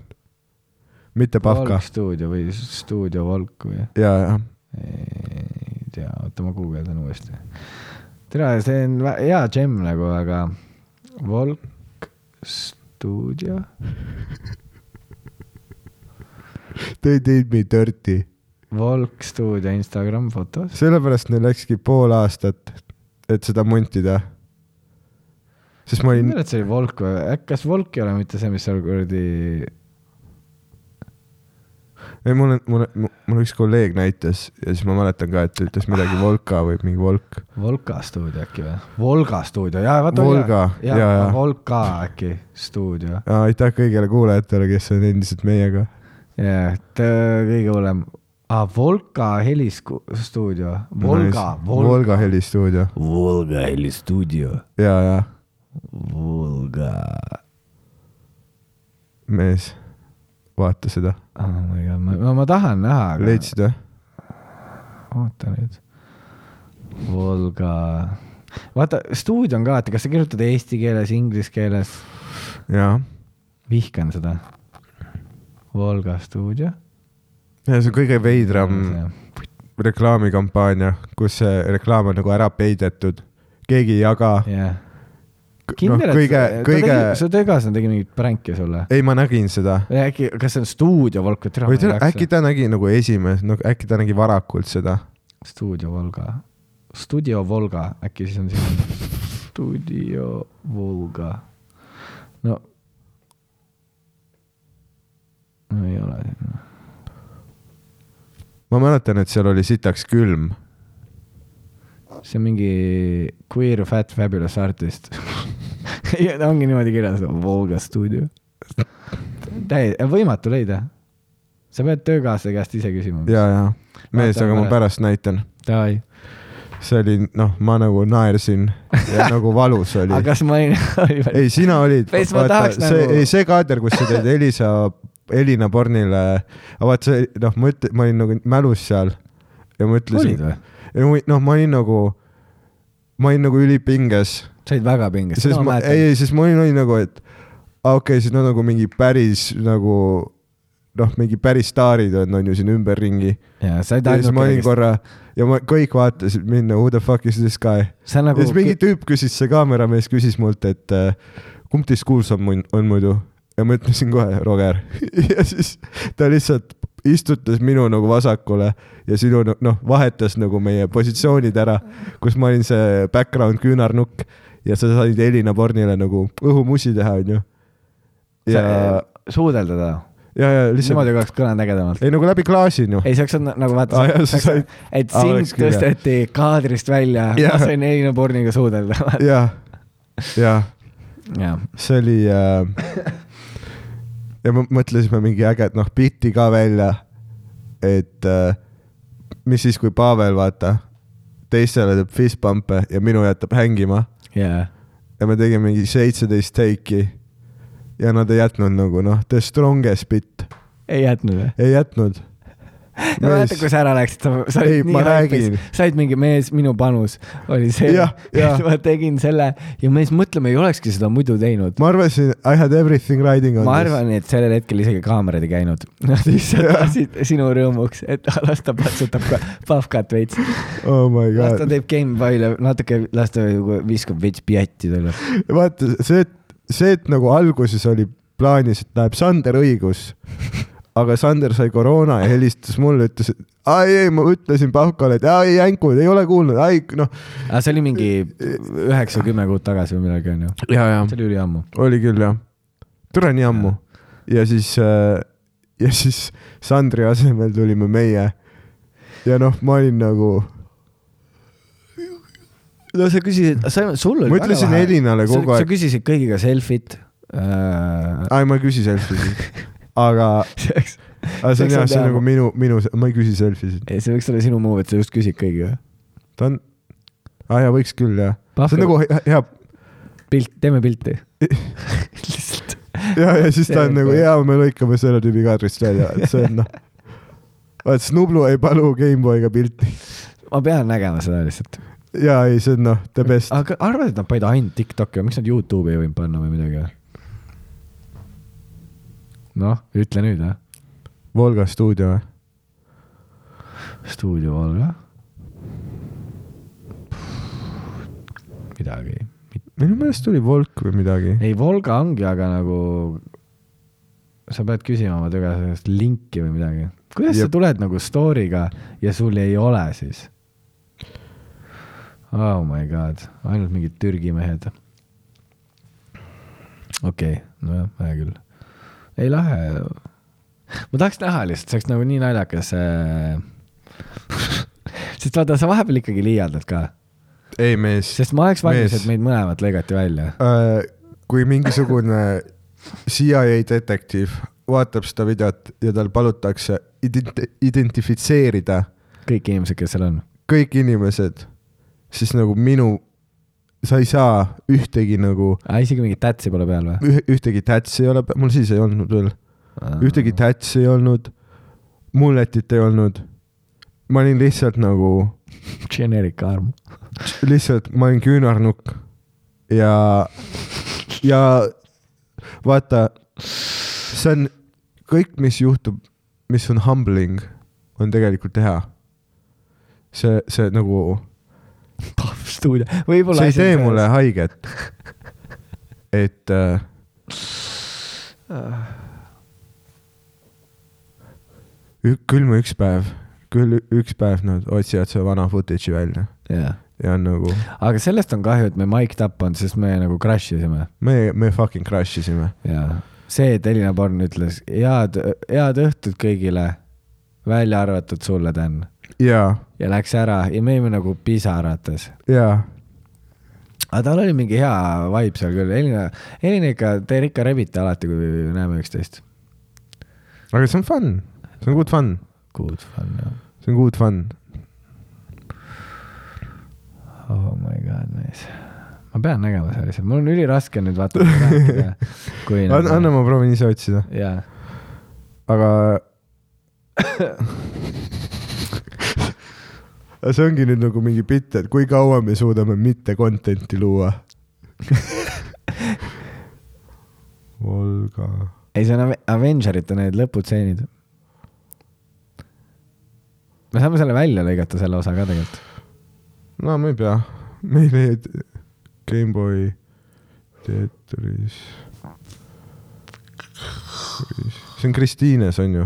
[SPEAKER 1] mitte Pavka
[SPEAKER 2] Volk , stuudio või stuudio Volk või ?
[SPEAKER 1] ja , ja .
[SPEAKER 2] ei tea , oota ma guugeldan uuesti . tere , see on vä- hea džem nagu , aga Volk stuudio ,
[SPEAKER 1] They did me dirty ,
[SPEAKER 2] Volk stuudio Instagram fotos .
[SPEAKER 1] sellepärast neil läkski pool aastat , et seda montida . sest ma
[SPEAKER 2] ma ei
[SPEAKER 1] olin ,
[SPEAKER 2] mäleta , see oli Volk või , kas Volk ei ole mitte see , mis seal kuradi ,
[SPEAKER 1] ei mul on , mul , mul üks kolleeg näitas ja siis ma mäletan ka , et ta ütles midagi Volka või mingi Volk .
[SPEAKER 2] Volka stuudio äkki või ? Volga stuudio , jaa , vaata .
[SPEAKER 1] Volga,
[SPEAKER 2] jaa ,
[SPEAKER 1] jaa,
[SPEAKER 2] jaa
[SPEAKER 1] jaa. ,
[SPEAKER 2] Volka äkki stuudio .
[SPEAKER 1] aitäh kõigile kuulajatele , kes on endiselt meiega
[SPEAKER 2] jah , et äh, kõige hullem , aa , Volka helistuudio , Volga , Volga .
[SPEAKER 1] Volga helistuudio
[SPEAKER 2] Volga helistuudio
[SPEAKER 1] ja , ja
[SPEAKER 2] Vulga .
[SPEAKER 1] mees , vaata seda ,
[SPEAKER 2] oh my god , ma , ma, ma tahan näha , aga .
[SPEAKER 1] leidsid või ?
[SPEAKER 2] oota nüüd . Vulga . vaata , stuudio on ka , et kas sa kirjutad eesti keeles , inglise keeles ,
[SPEAKER 1] ja ,
[SPEAKER 2] vihkan seda . Vulga stuudio
[SPEAKER 1] ja see on kõige veidram
[SPEAKER 2] mm. .
[SPEAKER 1] reklaamikampaania , kus see reklaam on nagu ära peidetud , keegi ei jaga ,
[SPEAKER 2] jah , kindel , et
[SPEAKER 1] kõige , kõige ,
[SPEAKER 2] su töökaaslane tegi mingit pränki sulle .
[SPEAKER 1] ei , ma nägin seda .
[SPEAKER 2] äkki , kas see on stuudio Volka Türa ?
[SPEAKER 1] või tead , äkki ta nägi nagu esimest , no äkki ta nägi varakult seda .
[SPEAKER 2] stuudio Volga , stuudio Volga , äkki siis on siin stuudio Volga . no . no ei ole . noh.
[SPEAKER 1] ma mäletan , et seal oli sitaks külm .
[SPEAKER 2] see on mingi Queer Fat Fabulous Artist . ongi niimoodi kirjas , Volga stuudio . täi- , võimatu leida . sa pead töökaaslase käest ise küsima .
[SPEAKER 1] ja , ja , mees ,
[SPEAKER 2] Vaatame
[SPEAKER 1] aga ma
[SPEAKER 2] pärast.
[SPEAKER 1] pärast näitan .
[SPEAKER 2] Davai .
[SPEAKER 1] see oli , noh , ma nagu naersin ja nagu valus
[SPEAKER 2] aga
[SPEAKER 1] oli .
[SPEAKER 2] kas ma olin , oli veel ?
[SPEAKER 1] ei , sina olid .
[SPEAKER 2] Veits ma tahaks
[SPEAKER 1] see
[SPEAKER 2] nagu- ,
[SPEAKER 1] ei see kaader , kus sa teed Elisa , Elina Bornile , aga vaat see , noh , ma ütlen , ma olin nagu mälus seal ja ma
[SPEAKER 2] olid
[SPEAKER 1] ütlesin ,
[SPEAKER 2] või ?
[SPEAKER 1] noh , ma olin nagu , ma olin nagu ülipinges
[SPEAKER 2] sa olid väga pinges .
[SPEAKER 1] sest ma , ei , ei , sest mul oli nagu , et aa, okei okay, , siis nad nagu mingi päris nagu noh , mingi päris staarid on , on ju siin ümberringi .
[SPEAKER 2] jaa , sa olid
[SPEAKER 1] ja siis ma olin
[SPEAKER 2] ainuke ,
[SPEAKER 1] korra ja ma , kõik vaatasid mind , who the fuck is this guy .
[SPEAKER 2] kes sa
[SPEAKER 1] ja
[SPEAKER 2] nagu
[SPEAKER 1] siis mingi tüüp küsis , see kaameramees küsis mult , et äh, kumb teist kuulsam mun- on muidu ja ma ütlesin kohe Roger ja siis ta lihtsalt istutas minu nagu vasakule ja sinu nagu- noh , vahetas nagu meie positsioonid ära , kus ma olin see background küünarnukk ja sa said Elina Bornile nagu õhumusi teha , onju . ja ,
[SPEAKER 2] suudelda teda .
[SPEAKER 1] ja , ja
[SPEAKER 2] niimoodi
[SPEAKER 1] lihtsalt ,
[SPEAKER 2] oleks kõlanud ägedamalt .
[SPEAKER 1] ei nagu läbi klaasi , onju .
[SPEAKER 2] ei , see oleks olnud nagu vaata
[SPEAKER 1] Aa, jaa, sa said- ,
[SPEAKER 2] et
[SPEAKER 1] Aa,
[SPEAKER 2] sind
[SPEAKER 1] oleks küll, jah.
[SPEAKER 2] tõsteti kaadrist välja , ma
[SPEAKER 1] Jaa.
[SPEAKER 2] sain Elina Borniga suudelda .
[SPEAKER 1] ja , ja
[SPEAKER 2] jah ,
[SPEAKER 1] see oli äh, . ja me mõtlesime mingi äge , noh , biti ka välja . et äh, mis siis , kui Pavel , vaata , teistele teeb fist pump'e ja minu jätab hängima
[SPEAKER 2] jaa .
[SPEAKER 1] ja me tegime mingi seitseteist take'i . ja nad ei jätnud nagu noh , the strongest bit ,
[SPEAKER 2] ei jätnud või ?
[SPEAKER 1] ei jätnud .
[SPEAKER 2] no vaata , kui sa ära läksid , sa , sa
[SPEAKER 1] Ei,
[SPEAKER 2] olid nii
[SPEAKER 1] ma
[SPEAKER 2] haigis
[SPEAKER 1] räägin. ,
[SPEAKER 2] sa olid mingi mees , minu panus oli see ,
[SPEAKER 1] Jah, jah.
[SPEAKER 2] et ma tegin selle ja mees , mõtleme , ei olekski seda muidu teinud .
[SPEAKER 1] ma arvasin , I had everything riding on
[SPEAKER 2] ma arvan , et sellel hetkel isegi kaamerad ei käinud . Nad lihtsalt lasid sinu rõõmuks , et las ta patsutab ka pahkat veits .
[SPEAKER 1] this . oh my
[SPEAKER 2] las ta
[SPEAKER 1] god ,
[SPEAKER 2] teeb gamepile'e natuke , las ta nagu viskab veits pjatti talle .
[SPEAKER 1] vaata see , see , et nagu alguses oli plaanis , et läheb Sander õigus , aga Sander sai koroona ja helistas mulle , ütles , et ai ei , ma ütlesin Pahkale , et ai jänkud , ei ole kuulnud , ai noh .
[SPEAKER 2] aga see oli mingi üheksa , kümme kuud tagasi või midagi onju .
[SPEAKER 1] ja , ja
[SPEAKER 2] see oli üliammu .
[SPEAKER 1] oli küll jah , tore nii ammu ja siis äh, ja siis Sandri asemel tulime meie . ja noh , ma olin nagu ,
[SPEAKER 2] no sa küsisid , sa , sul oli
[SPEAKER 1] Ma ütlesin Elinale kogu
[SPEAKER 2] aeg .
[SPEAKER 1] aeg-
[SPEAKER 2] sa küsisid kõigiga selfit äh, .
[SPEAKER 1] ai ma ei küsi selfie siin , aga ,
[SPEAKER 2] Ah, see võiks ,
[SPEAKER 1] aga see on jah ,
[SPEAKER 2] Eks
[SPEAKER 1] see
[SPEAKER 2] on
[SPEAKER 1] on
[SPEAKER 2] teada.
[SPEAKER 1] nagu minu , minu , ma ei küsi selfie siin ,
[SPEAKER 2] see võiks olla sinu move , et sa just küsid kõigiga .
[SPEAKER 1] ta on , aa jaa , võiks küll jah , see on nagu he- hea
[SPEAKER 2] pilt , teeme pilti lihtsalt .
[SPEAKER 1] ja , ja siis ta on
[SPEAKER 2] See-
[SPEAKER 1] nagu ja me lõikame selle tüübi kaadrist välja , et see on noh . vaat Snublu ei palu Gameboy'ga pilti
[SPEAKER 2] ma pean nägema seda lihtsalt .
[SPEAKER 1] ja ei , see on noh , the best .
[SPEAKER 2] aga arvad , et nad panid ainult Tiktoki , miks nad Youtube'i ei võinud panna või midagi või ? noh , ütle nüüd jah .
[SPEAKER 1] Volga stuudio või ?
[SPEAKER 2] stuudio Valga . midagi .
[SPEAKER 1] minu meelest oli Volk või midagi .
[SPEAKER 2] ei , Volga ongi , aga nagu sa pead küsima oma töökaaslase käest linki või midagi . kuidas sa
[SPEAKER 1] Jep.
[SPEAKER 2] tuled nagu story'ga ja sul ei ole siis ? Oh my god , ainult mingid Türgi mehed . okei okay, , nojah , hea küll . ei lahe . ma tahaks näha lihtsalt , see oleks nagu nii naljakas äh... . sest vaata , sa vahepeal ikkagi liialdad ka ,
[SPEAKER 1] ei mees
[SPEAKER 2] sest ma oleks valmis ,
[SPEAKER 1] Mees.
[SPEAKER 2] et meid mõlemat lõigati välja .
[SPEAKER 1] äh, . kui mingisugune CIA detektiiv vaatab seda videot ja tal palutakse ident- , identifitseerida
[SPEAKER 2] kõik inimesed , kes seal on .
[SPEAKER 1] kõik inimesed , siis nagu minu , sa ei saa ühtegi nagu ,
[SPEAKER 2] aa , Ah, isegi mingit tätsi pole peal või ?
[SPEAKER 1] ühtegi tätsi ei ole , mul siis ei olnud veel ühtegi .
[SPEAKER 2] Ah,
[SPEAKER 1] tätsi ei olnud , mulletit ei olnud . ma olin lihtsalt nagu ,
[SPEAKER 2] Generic arm .
[SPEAKER 1] lihtsalt ma olin küünarnukk ja , ja vaata , see on kõik , mis juhtub , mis on humbling , on tegelikult hea . see , see nagu ,
[SPEAKER 2] Pahv stuudio , võib-olla .
[SPEAKER 1] see ei tee mulle . haiget . et äh, ük- küll ma üks päev , küll ü- üks päev nad otsivad selle vana footage'i välja
[SPEAKER 2] jaa .
[SPEAKER 1] ja on nagu
[SPEAKER 2] aga sellest on kahju , et me mic'd up on , sest me nagu crash isime .
[SPEAKER 1] me , me fucking crash isime .
[SPEAKER 2] jaa . see , et Elina Born ütles head , head õhtut kõigile , välja arvatud sulle , Dan .
[SPEAKER 1] ja ,
[SPEAKER 2] ja läks ära ja me olime nagu pisarates .
[SPEAKER 1] ja ,
[SPEAKER 2] aga tal oli mingi hea vibe seal küll , Elina , Elina ikka , te ikka rebite alati , kui näeme üksteist .
[SPEAKER 1] aga see on fun , see on good fun ,
[SPEAKER 2] Good fun , jah .
[SPEAKER 1] see on good fun .
[SPEAKER 2] oh my god , mees . ma pean nägema selle asja , mul on üliraske nüüd vaata rääkida , kui nagu-
[SPEAKER 1] anna , anna , ma proovin ise otsida ,
[SPEAKER 2] jaa ,
[SPEAKER 1] aga . see ongi nüüd nagu mingi bitt , et kui kaua me suudame mitte content'i luua . Volga .
[SPEAKER 2] ei , see on Ave- Avengerite need lõputseenid . me saame selle välja lõigata , selle osa ka tegelikult .
[SPEAKER 1] no me ei pea , meil ei , Gameboy , Tetris . see on Kristiines , on ju ?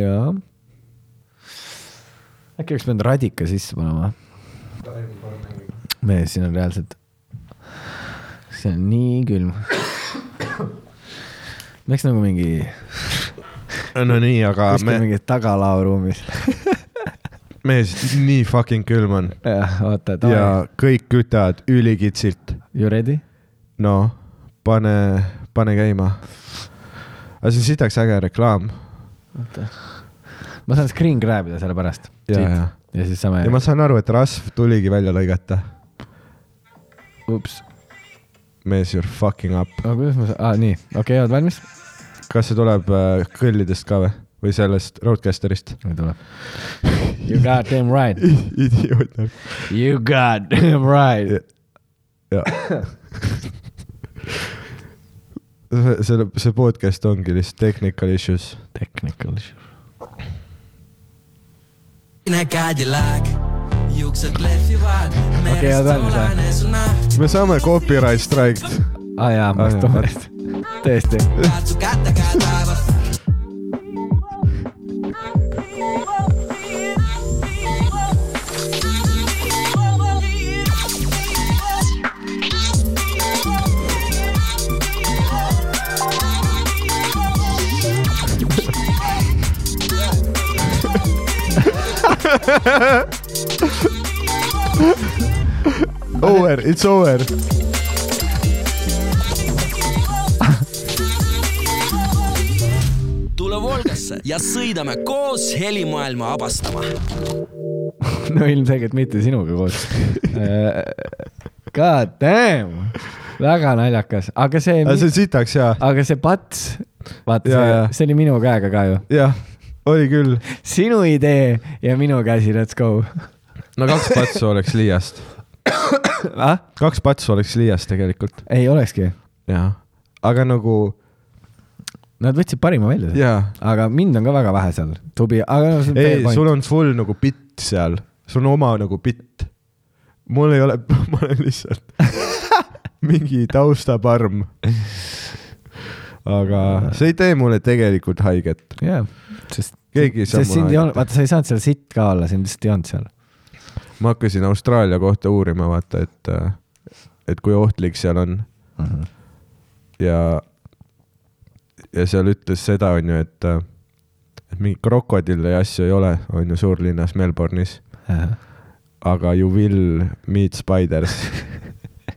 [SPEAKER 2] jaa . äkki oleks pidanud radika sisse panema ? mees , siin on reaalselt , see on nii külm . me oleks nagu mingi ,
[SPEAKER 1] no nii , aga
[SPEAKER 2] kuskil me...
[SPEAKER 1] me ,
[SPEAKER 2] mingi tagalaoruumis .
[SPEAKER 1] mees , nii fucking külm on
[SPEAKER 2] jah ,
[SPEAKER 1] ja
[SPEAKER 2] oota , davai .
[SPEAKER 1] kõik kütavad ülikitsilt .
[SPEAKER 2] You ready ?
[SPEAKER 1] no Noh, pane , pane käima . aga see on sitaks äge reklaam .
[SPEAKER 2] ma saan screen grab ida selle pärast .
[SPEAKER 1] ja , ja ,
[SPEAKER 2] ja siis saame
[SPEAKER 1] ja . ma saan aru , et rasv tuligi välja lõigata .
[SPEAKER 2] ups ,
[SPEAKER 1] mees , you are fucking up .
[SPEAKER 2] aga kuidas ma saan , aa nii , okei okay, , oled valmis ?
[SPEAKER 1] kas see tuleb äh, kõllidest ka või , või sellest roadcaster'ist ?
[SPEAKER 2] nüüd tuleb . You got them right .
[SPEAKER 1] idioot nagu .
[SPEAKER 2] You got them right .
[SPEAKER 1] jah . see , see , see podcast ongi lihtsalt technical issues .
[SPEAKER 2] Technical issue .
[SPEAKER 6] Näe Cadillac , juuksed lehvivad , merest
[SPEAKER 2] head valmis, või?
[SPEAKER 6] voolane su nahk ,
[SPEAKER 1] me saame copyright strike .
[SPEAKER 2] aa Ah, jaa , ma
[SPEAKER 1] Aa, Ah, jaa.
[SPEAKER 2] just toonest . tõesti .
[SPEAKER 6] katsu kätega taevas .
[SPEAKER 1] Over , it's over .
[SPEAKER 6] tule Volgasse ja sõidame koos helimaailma avastama .
[SPEAKER 2] no ilmselgelt mitte sinuga koos . God damn , väga naljakas , aga see ,
[SPEAKER 1] aga Ah, see on sitaks hea .
[SPEAKER 2] aga see pats , vaata ,
[SPEAKER 1] Jaa,
[SPEAKER 2] see,
[SPEAKER 1] jaa.
[SPEAKER 2] see oli minu käega ka ju .
[SPEAKER 1] jah , oli küll .
[SPEAKER 2] sinu idee ja minu käsi , let's go .
[SPEAKER 1] no kaks patsu oleks liiast .
[SPEAKER 2] ah ,
[SPEAKER 1] kaks patsu oleks liiast tegelikult .
[SPEAKER 2] ei olekski ,
[SPEAKER 1] jah . aga nagu ,
[SPEAKER 2] nad võtsid parima välja .
[SPEAKER 1] jaa .
[SPEAKER 2] aga mind on ka väga vähe seal , tubli , aga no, see on
[SPEAKER 1] ei
[SPEAKER 2] fair , point.
[SPEAKER 1] sul on full nagu bitt seal , sul on oma nagu bitt . mul ei ole , ma olen lihtsalt mingi taustaparm . aga see ei tee mulle tegelikult haiget ,
[SPEAKER 2] jaa , sest ,
[SPEAKER 1] keegi ei saa
[SPEAKER 2] sest sind
[SPEAKER 1] mulle
[SPEAKER 2] ei olnud ,
[SPEAKER 1] haiget .
[SPEAKER 2] vaata , sa ei saanud seal sitt ka olla , sind lihtsalt ei olnud seal .
[SPEAKER 1] ma hakkasin Austraalia kohta uurima , vaata , et , et kui ohtlik seal on ja , ja seal ütles seda , onju , et , et mingit krokodille ja asju ei ole , onju , suurlinnas Melbourne'is , aga you will meet spiders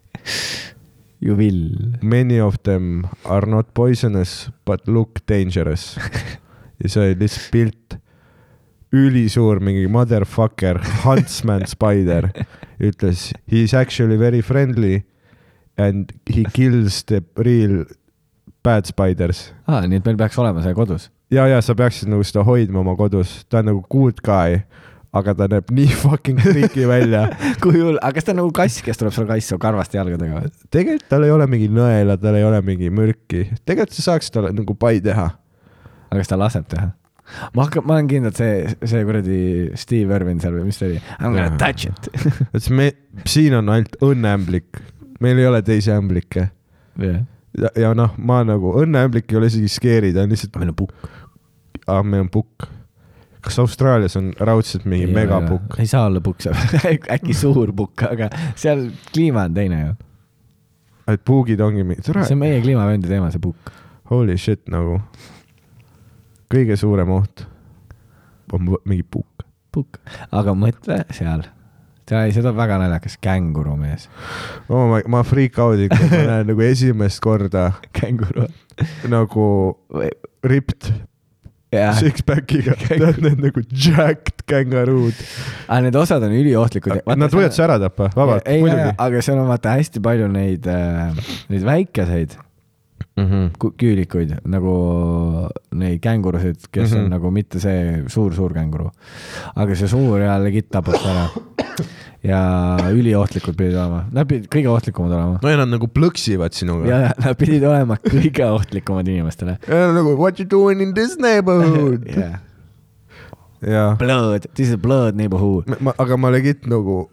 [SPEAKER 2] You will .
[SPEAKER 1] many of them are not poisonous but look dangerous . ja see oli lihtsalt pilt , ülisuur mingi motherfucker , huntsman spider ütles he is actually very friendly and he kills the real bad spiders .
[SPEAKER 2] aa , Ah, nii et meil peaks olema see kodus .
[SPEAKER 1] ja , ja sa peaksid nagu seda hoidma oma kodus , ta on nagu good guy , aga ta näeb nii fucking freaky välja .
[SPEAKER 2] kui hull , aga kas ta on nagu kass , kes tuleb sulle kassu karvaste jalgadega või ?
[SPEAKER 1] tegelikult tal ei ole mingi nõela , tal ei ole mingi mürki , tegelikult sa saaksid talle nagu pai teha
[SPEAKER 2] aga kas ta laseb teha ? ma hakkan , ma olen kindel , et see , see kuradi Steve Irwin seal või mis ta oli ? I m gonna
[SPEAKER 1] Jaa.
[SPEAKER 2] touch it .
[SPEAKER 1] et siis me , siin on ainult õnneämblik , meil ei ole teisi ämblikke .
[SPEAKER 2] jah .
[SPEAKER 1] ja , ja noh , ma nagu , õnneämblik ei ole isegi scary , ta on lihtsalt ,
[SPEAKER 2] meil on pukk .
[SPEAKER 1] aa , meil on pukk . kas Austraalias on raudselt mingi megapukk ?.
[SPEAKER 2] ei saa olla pukk seal , äkki suur pukk , aga seal kliima on teine ju .
[SPEAKER 1] et puugid ongi mingi , tere
[SPEAKER 2] see , on meie kliimavööndi teema , see pukk .
[SPEAKER 1] holy shit nagu . kõige suurem oht on võ- mingi pukk .
[SPEAKER 2] pukk , aga mõtle seal . ei , see tuleb väga naljakas , känguru mees .
[SPEAKER 1] oh my , ma freak out ikka , ma näen nagu esimest korda
[SPEAKER 2] känguru .
[SPEAKER 1] nagu ripped
[SPEAKER 2] jah ,
[SPEAKER 1] six-pack'iga , tead need nagu jacked kängaruud .
[SPEAKER 2] aga need osad on üliohtlikud .
[SPEAKER 1] Nad võivad su ära tappa , vabalt ,
[SPEAKER 2] ei ,
[SPEAKER 1] muidugi .
[SPEAKER 2] aga seal on vaata hästi palju neid , neid väikeseid ku- küülikuid nagu neid kängurusid , kes mm -hmm.
[SPEAKER 1] Mhm.
[SPEAKER 2] on nagu mitte see suur-suur känguru , aga see suur ja legit tapab ta ära . ja üliohtlikud pidid olema , nad pidid kõige ohtlikumad olema .
[SPEAKER 1] no ja nad nagu plõksivad sinuga .
[SPEAKER 2] ja nad pidid olema kõige ohtlikumad inimestele .
[SPEAKER 1] nagu what you doing in this neighborhood
[SPEAKER 2] Yeah.
[SPEAKER 1] jaa .
[SPEAKER 2] Blood , this is blood neighborhood .
[SPEAKER 1] ma , aga ma legit nagu ,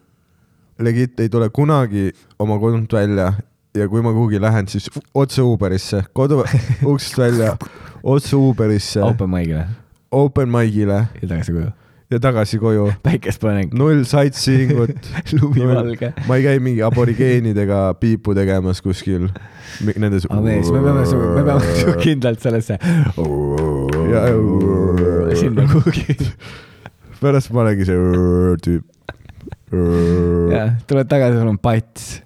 [SPEAKER 1] legit ei tule kunagi oma kodunt välja ja kui ma kuhugi lähen , siis otse Uberisse , kodu uksest välja , otse Uberisse ,
[SPEAKER 2] Open mic'ile
[SPEAKER 1] open mic'ile
[SPEAKER 2] ja tagasi koju .
[SPEAKER 1] ja tagasi koju .
[SPEAKER 2] päikesepõlenik ..
[SPEAKER 1] null sightseeing ut
[SPEAKER 2] lumi valge .
[SPEAKER 1] ma ei käi mingi aborigeenidega piipu tegemas kuskil . Nendes .
[SPEAKER 2] aga mees , me peame su , me peame su kindlalt sellesse sinna
[SPEAKER 1] peame .
[SPEAKER 2] kuhugi .
[SPEAKER 1] pärast ma olengi see tüüp .
[SPEAKER 2] jah , tuled tagasi , sul on pats ,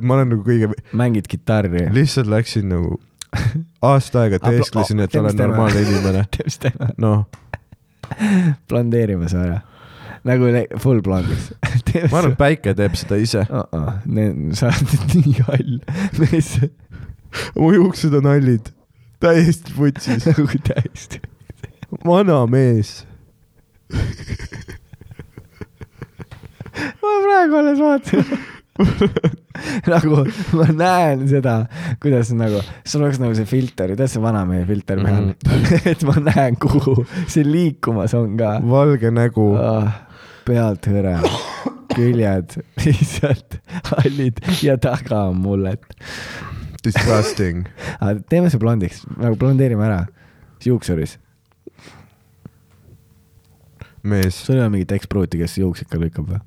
[SPEAKER 1] ma olen nagu kõige
[SPEAKER 2] mängid kitarri .
[SPEAKER 1] lihtsalt läksin nagu aasta aega
[SPEAKER 2] Aplo-
[SPEAKER 1] teesklesin , et
[SPEAKER 2] tead,
[SPEAKER 1] olen
[SPEAKER 2] mis teeme?
[SPEAKER 1] normaalne inimene .
[SPEAKER 2] tead , mis teeme ?
[SPEAKER 1] noh ,
[SPEAKER 2] blondeerime su ära . nagu le- full blondiks .
[SPEAKER 1] ma arvan , et päike teeb seda ise .
[SPEAKER 2] arvan . sa oled nii hall mees ,
[SPEAKER 1] mu juuksed on hallid , täiesti putsis ,
[SPEAKER 2] nagu täiesti .
[SPEAKER 1] vana mees .
[SPEAKER 2] ma praegu alles vaatasin nagu ma näen seda , kuidas nagu , sul oleks nagu see filter , tead see vanamehe filter peal
[SPEAKER 1] Mhm.
[SPEAKER 2] mm , -hmm. et ma näen , kuhu see liikumas on ka
[SPEAKER 1] valge nägu ,
[SPEAKER 2] oh, . pealt hõre , küljed lihtsalt hallid ja taga on mullet .
[SPEAKER 1] disgusting .
[SPEAKER 2] aga teeme see blondiks , nagu blondeerime ära , juuksuris .
[SPEAKER 1] mees ,
[SPEAKER 2] sul ei ole mingit ekspruuti , kes juuks ikka lõikab või ?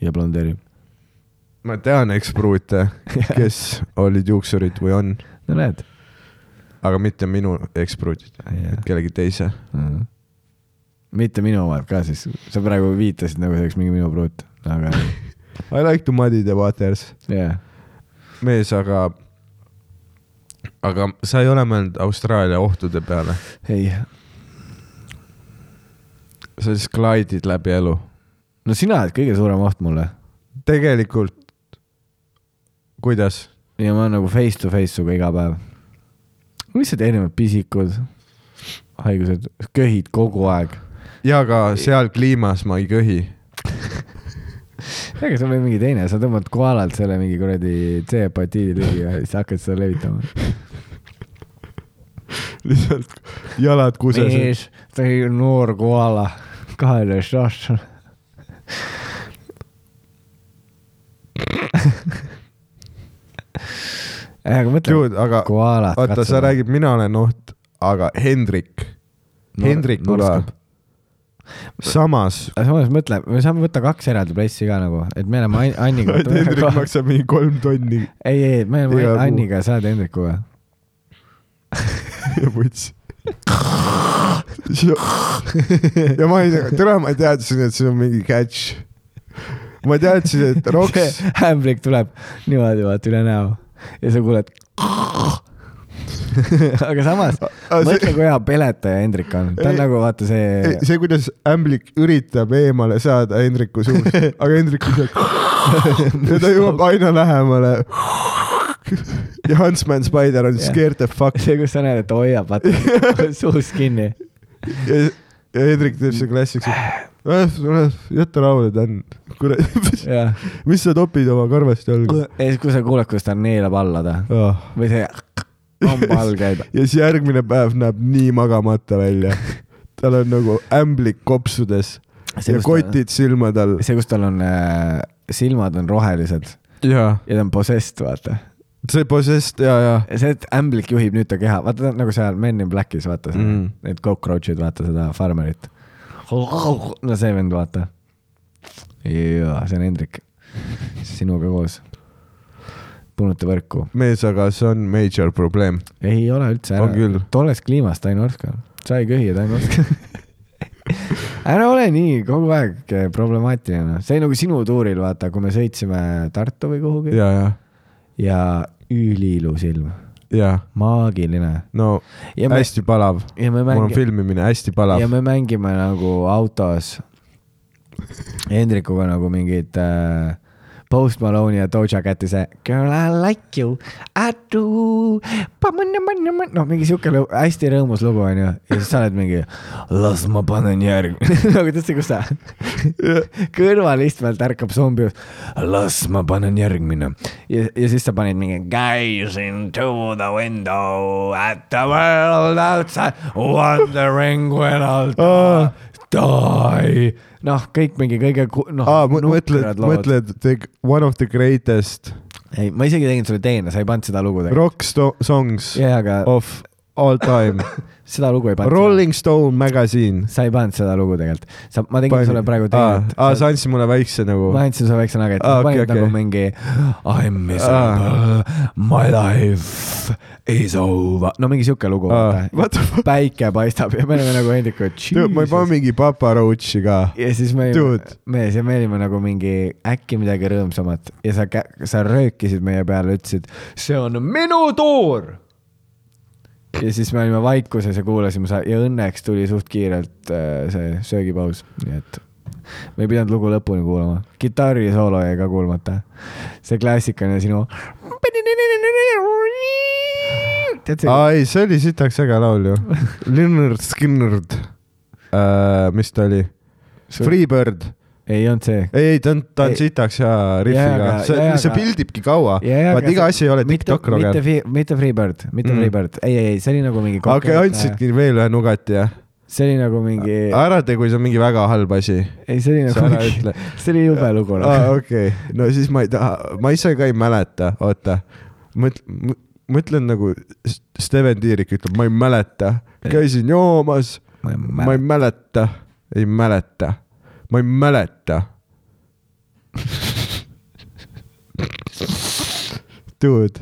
[SPEAKER 2] ja blondeerib .
[SPEAKER 1] ma tean ekspruute , kes olid juuksurid või on ,
[SPEAKER 2] no näed
[SPEAKER 1] aga mitte minu ekspruudid ,
[SPEAKER 2] Jah.
[SPEAKER 1] et kellegi teise .
[SPEAKER 2] Mhm. mitte minu omad ka siis , sa praegu viitasid nagu see oleks mingi minu pruut , aga
[SPEAKER 1] I like to muddy the waters ,
[SPEAKER 2] jah .
[SPEAKER 1] mees , aga , aga sa ei ole mõelnud Austraalia ohtude peale ?
[SPEAKER 2] ei ,
[SPEAKER 1] sa lihtsalt glaidid läbi elu
[SPEAKER 2] no sina oled kõige suurem oht mulle
[SPEAKER 1] tegelikult , kuidas ?
[SPEAKER 2] ja ma olen nagu face to face sinuga iga päev . lihtsalt erinevad pisikud , haigused , köhid kogu aeg .
[SPEAKER 1] ja ka seal kliimas ma ei köhi .
[SPEAKER 2] ega see on veel mingi teine , sa tõmbad koalalt selle mingi kuradi C-hepatiidi ligi ja siis hakkad seda levitama .
[SPEAKER 1] lihtsalt jalad kuses .
[SPEAKER 2] mees , ta oli noor koala , kaheteistaastane . aga mõtle ,
[SPEAKER 1] dude , aga
[SPEAKER 2] koalat .
[SPEAKER 1] vaata , sa . räägid , mina olen oht , aga Hendrik , Hendrik Ula . samas ,
[SPEAKER 2] aga samas mõtle , me saame võtta kaks eraldi pressi ka nagu , et me oleme Ann- Anniga .
[SPEAKER 1] Hendrik maksab mingi kolm tonni
[SPEAKER 2] ei , ei , me oleme
[SPEAKER 1] iga kuu.
[SPEAKER 2] Anniga , sa oled Hendrikuga .
[SPEAKER 1] ja vuts . ja ma ei tea , täna ma teadsin , et see on mingi catch . ma teadsin , et Roks
[SPEAKER 2] see hämblik tuleb niimoodi , vaata üle näo ja sa kuuled . aga samas ,
[SPEAKER 1] aga see-
[SPEAKER 2] mõtle , kui hea peletaja Hendrik on , ta on
[SPEAKER 1] Ei-
[SPEAKER 2] nagu vaata see
[SPEAKER 1] Ei, , see , kuidas ämblik üritab eemale saada Hendriku suust , aga Hendrik lihtsalt ja ta jõuab aina lähemale . ja Huntsman Spider on
[SPEAKER 2] Jah.
[SPEAKER 1] scared the fuck
[SPEAKER 2] see , kus sa näed , et ta hoiab vaata suus kinni .
[SPEAKER 1] ja, ja Hendrik teeb selle klassiks . jäta rahule , Dan , kurat ,
[SPEAKER 2] ja
[SPEAKER 1] mis sa topid oma karvast jalga ?
[SPEAKER 2] ja siis , kui sa kuuled , kuidas ta neelab alla ta
[SPEAKER 1] ja
[SPEAKER 2] või see hamba all käib .
[SPEAKER 1] siis järgmine päev näeb nii magamata välja . tal on nagu ämblik kopsudes
[SPEAKER 2] See,
[SPEAKER 1] ja
[SPEAKER 2] kus ta-
[SPEAKER 1] kotid silmad all .
[SPEAKER 2] see , kus tal on äh, silmad on rohelised
[SPEAKER 1] jaa
[SPEAKER 2] ja ta on possessed , vaata .
[SPEAKER 1] see possessed ja , ja
[SPEAKER 2] see , et ämblik juhib nüüd ta keha , vaata ta on nagu seal Men in Blackis , vaata mm.
[SPEAKER 1] Mhm.
[SPEAKER 2] need cockroach'id , vaata seda farmerit . no see vend , vaata . jaa , see on Hendrik , sinuga koos . punute võrku .
[SPEAKER 1] mees , aga see on major probleem .
[SPEAKER 2] ei ole üldse
[SPEAKER 1] On küll.
[SPEAKER 2] ära , tolles kliimas ta ei norska , sa ei köhi ja ta ei norska . ära ole nii kogu aeg eh, problemaatiline , noh , see nagu sinu tuuril , vaata , kui me sõitsime Tartu või kuhugi ja,
[SPEAKER 1] ja , ja ,
[SPEAKER 2] ja üliilus ilm ,
[SPEAKER 1] ja
[SPEAKER 2] maagiline .
[SPEAKER 1] no
[SPEAKER 2] ja me ,
[SPEAKER 1] hästi palav .
[SPEAKER 2] ja me
[SPEAKER 1] mul on
[SPEAKER 2] mängime ,
[SPEAKER 1] filmimine hästi palav
[SPEAKER 2] ja . me mängime nagu autos Hendrikuga nagu mingit äh, Post Malone'i ja Doja Cati see Girl I like you , I do . noh , mingi siuke lu- hästi rõõmus lugu onju ja siis sa oled mingi las ma panen järgmine , nagu tead sa , kus sa kõrvalistmelt ärkab zombi , las ma panen järgmine ja , ja siis sa panid mingi guys into the window at the world outside wondering when I'll die . noh , kõik mingi kõige , noh
[SPEAKER 1] aa , mõtled ,
[SPEAKER 2] nukrad lood.
[SPEAKER 1] mõtled the one of the greatest
[SPEAKER 2] ei , ma isegi tegin sulle teene , sa ei pannud seda lugu tegema .
[SPEAKER 1] rock sto- songs
[SPEAKER 2] jaa , aga oh.
[SPEAKER 1] of all time .
[SPEAKER 2] seda lugu ei pannud .
[SPEAKER 1] Rolling Stone Magazine .
[SPEAKER 2] sa ei pannud seda lugu tegelikult . sa , ma tegin Pani. sulle praegu
[SPEAKER 1] aa
[SPEAKER 2] teenet ,
[SPEAKER 1] aa , sa andsid mulle väikse nagu .
[SPEAKER 2] ma andsin sulle väikse nageti
[SPEAKER 1] Aa, okei,
[SPEAKER 2] ah, , panid okay, nagu
[SPEAKER 1] okei.
[SPEAKER 2] mingi I m miserable ah. , my life is over , no mingi siuke lugu
[SPEAKER 1] Aa,
[SPEAKER 2] ah. ,
[SPEAKER 1] what the fuck?
[SPEAKER 2] päike paistab ja me oleme nagu Hendriku ,
[SPEAKER 1] Dude , ma ei pane
[SPEAKER 2] et .
[SPEAKER 1] mingi Papa Roachi ka .
[SPEAKER 2] ja siis me
[SPEAKER 1] Dude.
[SPEAKER 2] olime , mees ja me olime nagu mingi äkki midagi rõõmsamat ja sa , sa röökisid meie peale , ütlesid , see on minu tuur . ja siis me olime vaikuses ja kuulasime sa- ja õnneks tuli suht kiirelt äh, see söögipaus , nii et me ei pidanud lugu lõpuni kuulama , kitarrisoolo jäi ka kuulmata . see klassikaline sinu . tead see ,
[SPEAKER 1] aa ei , see oli sitaks äge laul ju . Leonard Skinner uh, . mis ta oli ? Freebird .
[SPEAKER 2] ei olnud see
[SPEAKER 1] ei , ei ta on , ta on
[SPEAKER 2] Ei.
[SPEAKER 1] sitaks hea rihviga
[SPEAKER 2] Jaa, . aga-
[SPEAKER 1] see
[SPEAKER 2] jaa, ,
[SPEAKER 1] see
[SPEAKER 2] aga-
[SPEAKER 1] pildibki kaua .
[SPEAKER 2] Ja- ja,
[SPEAKER 1] vaat
[SPEAKER 2] aga
[SPEAKER 1] iga
[SPEAKER 2] see-
[SPEAKER 1] asi ei ole
[SPEAKER 2] mitte-
[SPEAKER 1] TikTok roger
[SPEAKER 2] mitte . Free , mitte Freebird , mitte
[SPEAKER 1] Mm.
[SPEAKER 2] mm. Freebird , ei , ei , ei , see oli nagu mingi .
[SPEAKER 1] okei , andsidki veel ühe nugati jah ?
[SPEAKER 2] see oli nagu mingi ,
[SPEAKER 1] ära tee , kui see on mingi väga halb asi .
[SPEAKER 2] ei , see oli
[SPEAKER 1] sa
[SPEAKER 2] nagu
[SPEAKER 1] ära
[SPEAKER 2] mingi
[SPEAKER 1] ütle. ,
[SPEAKER 2] see oli jube lugu
[SPEAKER 1] aa ,
[SPEAKER 2] nagu .
[SPEAKER 1] okei , no siis ma ei taha , ma ise ka ei mäleta , oota . mõtlen , mõtlen nagu S- Steven Tiirik ütleb , ma ei mäleta , käisin joomas , ma ei mäleta , ei mäleta , ma ei mäleta . Dude ,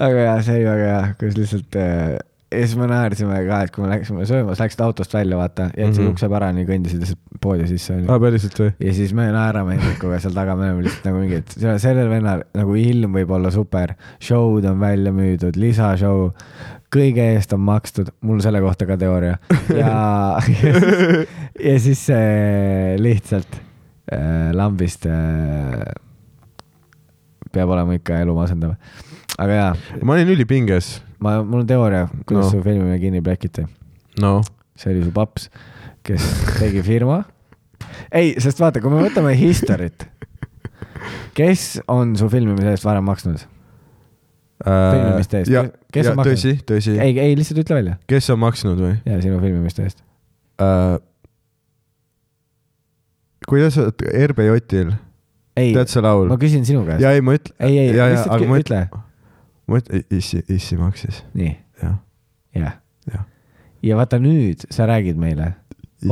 [SPEAKER 2] aga jaa , see oli väga hea , kus lihtsalt äh, ja siis me naersime ka , et kui me läksime sööma , sa läksid autost välja , vaata , jätsid mm
[SPEAKER 1] Mhm.
[SPEAKER 2] -hmm. ukse pärani , kõndisid lihtsalt poodi sisse onju
[SPEAKER 1] aa Ah, päriselt või ?
[SPEAKER 2] ja siis me naerame Hendrikuga seal taga , me oleme lihtsalt nagu mingi , et see- sellel vennal nagu ilm võib olla super , show'd on välja müüdud , lisashow , kõige eest on makstud , mul selle kohta ka teooria ja , ja siis see lihtsalt äh, lambist äh, peab olema ikka elu masendav . aga jaa ,
[SPEAKER 1] ma olin ülipinges .
[SPEAKER 2] ma , mul on teooria , kuidas
[SPEAKER 1] No.
[SPEAKER 2] no. su filmimine kinni plekiti
[SPEAKER 1] noh .
[SPEAKER 2] see oli su paps , kes tegi firma . ei , sest vaata , kui me võtame History't , kes on su filmimise eest varem maksnud ? Filmimiste eest.
[SPEAKER 1] Äh, ja ,
[SPEAKER 2] Kes
[SPEAKER 1] ja
[SPEAKER 2] on maksnud?
[SPEAKER 1] tõsi , tõsi .
[SPEAKER 2] ei , ei lihtsalt ütle välja
[SPEAKER 1] kes on maksnud või ?
[SPEAKER 2] ja sinu filmimiste eest .
[SPEAKER 1] kuidas sa , RBJ-il ,
[SPEAKER 2] ei ,
[SPEAKER 1] tead sa laul
[SPEAKER 2] ma ? küsin sinu käest .
[SPEAKER 1] ja ei , ma ütlen ,
[SPEAKER 2] ei , ei ,
[SPEAKER 1] ja- ja, aga
[SPEAKER 2] lihtsalt
[SPEAKER 1] ma
[SPEAKER 2] kü- ütle .
[SPEAKER 1] ma ütlen , issi , issi maksis ,
[SPEAKER 2] nii ,
[SPEAKER 1] jah .
[SPEAKER 2] jah
[SPEAKER 1] Jah. .
[SPEAKER 2] ja vaata nüüd sa räägid meile ,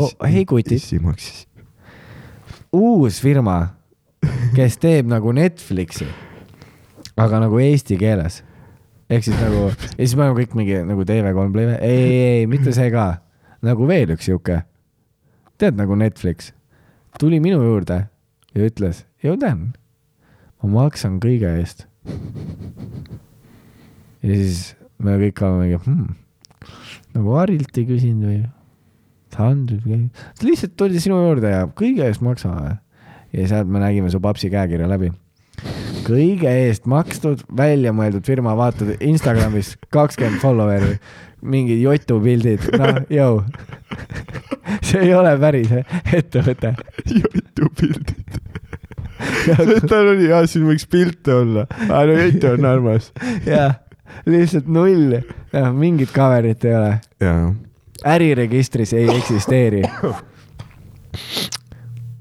[SPEAKER 2] Oh, hei, kutid.
[SPEAKER 1] issi maksis .
[SPEAKER 2] uus firma , kes teeb nagu Netflixi , aga nagu eesti keeles . ehk siis nagu , ja siis me oleme kõik mingi nagu TV3 Play , ei , ei , ei , mitte see ka . nagu veel üks sihuke , tead nagu Netflix , tuli minu juurde ja ütles , Jõudan , ma maksan kõige eest . ja siis me kõik olemegi hmm, , nagu Harilt ei küsinud või ? Andrus , ta lihtsalt tuli sinu juurde ja kõige eest maksame . ja sealt me nägime su papsi käekirja läbi . kõige eest makstud , väljamõeldud firma , vaatad Instagramis kakskümmend follower'i , mingid jotupildid , noh , jõu . see ei ole päris e-, ettevõte .
[SPEAKER 1] jutu pildid . tal oli jah , siin võiks pilte olla , aga no jutt on armas .
[SPEAKER 2] jah , lihtsalt null , Noh, mingit cover'it ei ole ,
[SPEAKER 1] ja ,
[SPEAKER 2] äriregistris ei eksisteeri .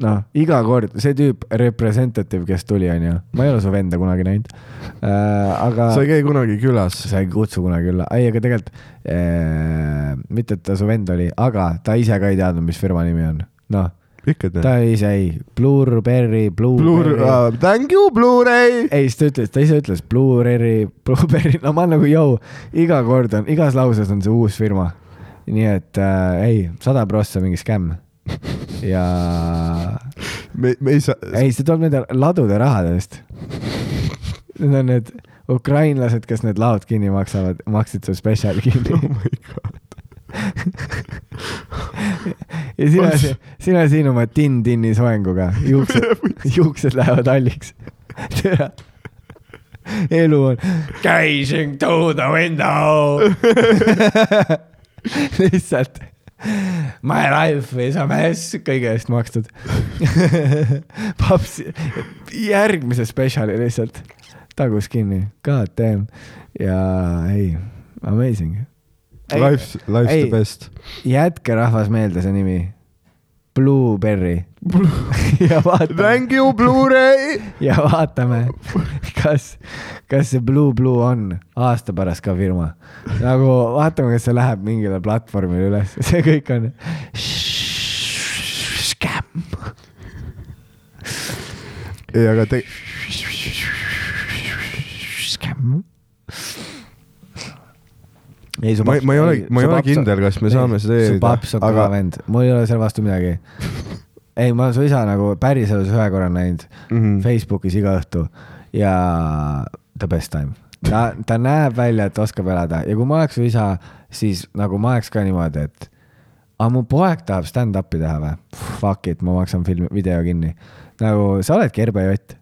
[SPEAKER 2] noh , iga kord see tüüp , representative , kes tuli , onju , ma ei ole su venda kunagi näinud äh, . aga
[SPEAKER 1] sa ei käi kunagi külas .
[SPEAKER 2] sa ei kutsu kunagi üle , ei , aga tegelikult äh, mitte , et ta su vend oli , aga ta ise ka ei teadnud , mis firma nimi on , noh
[SPEAKER 1] ikka
[SPEAKER 2] ta
[SPEAKER 1] tead .
[SPEAKER 2] ise ei , Blueberry ,
[SPEAKER 1] Blur
[SPEAKER 2] Blueberry ,
[SPEAKER 1] uh, , thank you , Blu-ray .
[SPEAKER 2] ei , siis ta ütles , ta ise ütles Blueberry , Blueberry , no ma nagu jõu , iga kord on , igas lauses on see uus firma . nii et äh, ei , sada prossa mingi skämm ja
[SPEAKER 1] me , me ei saa .
[SPEAKER 2] ei , see tuleb nende ladude rahadest . Need on need ukrainlased , kes need laod kinni maksavad , maksid su spetsiali
[SPEAKER 1] oh
[SPEAKER 2] kinni .
[SPEAKER 1] my god .
[SPEAKER 2] ja sina , sina siin oma tinn-tinni soenguga , juuksed , juuksed lähevad halliks . elu on gazing to the window . lihtsalt my life is a mess , kõige eest makstud . paps , järgmise spetsiali lihtsalt tagus kinni , god damn ja ei , amazing .
[SPEAKER 1] Life's , life's
[SPEAKER 2] ei.
[SPEAKER 1] the best .
[SPEAKER 2] jätke rahvas meelde see nimi . Blueberry . ja vaatame ,
[SPEAKER 1] Thank you , Blu-ray .
[SPEAKER 2] ja vaatame , kas , kas see Blue Blue on aasta pärast ka firma . nagu vaatame , kas see läheb mingile platvormile üles , see kõik on . Scam .
[SPEAKER 1] ei , aga te ,
[SPEAKER 2] Scam . ei , su
[SPEAKER 1] ma , ma ei ole , ma ei ole kindel , kas me saame seda
[SPEAKER 2] su
[SPEAKER 1] eelida
[SPEAKER 2] paps , on kõva
[SPEAKER 1] aga
[SPEAKER 2] vend , mul ei ole selle vastu midagi . ei , ma olen su isa nagu päriselus ühe korra näinud
[SPEAKER 1] Mhm.
[SPEAKER 2] mm. Facebookis iga õhtu ja the best time . ta , ta näeb välja , et oskab elada ja kui ma oleks su isa , siis nagu ma oleks ka niimoodi , et aga mu poeg tahab stand-up'i teha või ? Fuck it , ma maksan filmi , video kinni . nagu sa oledki Herbe Jott .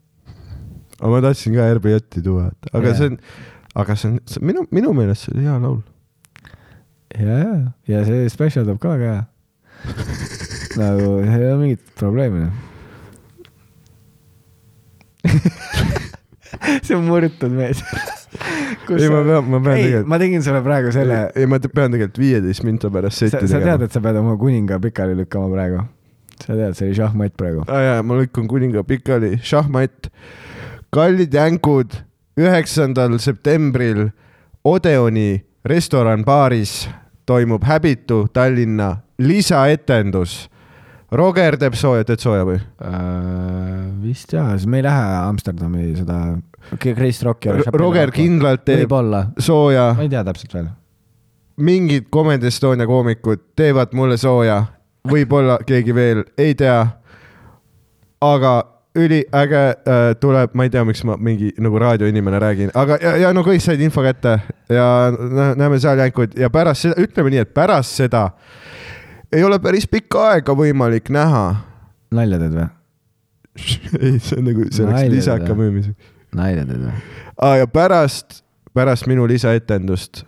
[SPEAKER 1] aga ma tahtsin ka RBJ-i tuua , aga
[SPEAKER 2] Jaa.
[SPEAKER 1] see on , aga see on see- minu , minu meelest see oli hea laul .
[SPEAKER 2] ja , ja , ja see spetsial tuleb ka väga hea . nagu seal ei ole mingit probleemi . see on murtud mees .
[SPEAKER 1] ei , ma pean , ma pean
[SPEAKER 2] ei ,
[SPEAKER 1] tegelikult ,
[SPEAKER 2] ma tegin sulle praegu selle ,
[SPEAKER 1] ei , ma te- pean tegelikult viieteist minta pärast
[SPEAKER 2] sa,
[SPEAKER 1] seti
[SPEAKER 2] sa tead ,
[SPEAKER 1] tegema .
[SPEAKER 2] et sa pead oma kuninga pikali lükkama praegu . sa tead , see oli šahmat praegu .
[SPEAKER 1] aa jaa , ma lükkan kuninga pikali , šahmat . kallid jänkud , üheksandal septembril Odeoni restoran baaris toimub häbitu Tallinna lisaetendus . Roger teeb sooja , teed sooja või ?
[SPEAKER 2] Äh, vist jaa , siis me ei lähe Amsterdami seda , Chris Rocki .
[SPEAKER 1] Roger kindlalt teeb
[SPEAKER 2] võib-olla ,
[SPEAKER 1] sooja
[SPEAKER 2] ma ei tea täpselt veel .
[SPEAKER 1] mingid Comedy Estonia koomikud teevad mulle sooja , võib-olla keegi veel , ei tea . aga üliäge äh, tuleb , ma ei tea , miks ma mingi nagu raadioinimene räägin , aga ja, ja no kõik said info kätte ja nä- näeme seal jänkuid ja pärast seda , ütleme nii , et pärast seda ei ole päris pikka aega võimalik näha .
[SPEAKER 2] nalja teed või ?
[SPEAKER 1] ei , see on nagu , see oleks
[SPEAKER 2] Nalja
[SPEAKER 1] lisaka
[SPEAKER 2] teha.
[SPEAKER 1] müümiseks .
[SPEAKER 2] nalja teed või ?
[SPEAKER 1] aa ja pärast , pärast minu lisaetendust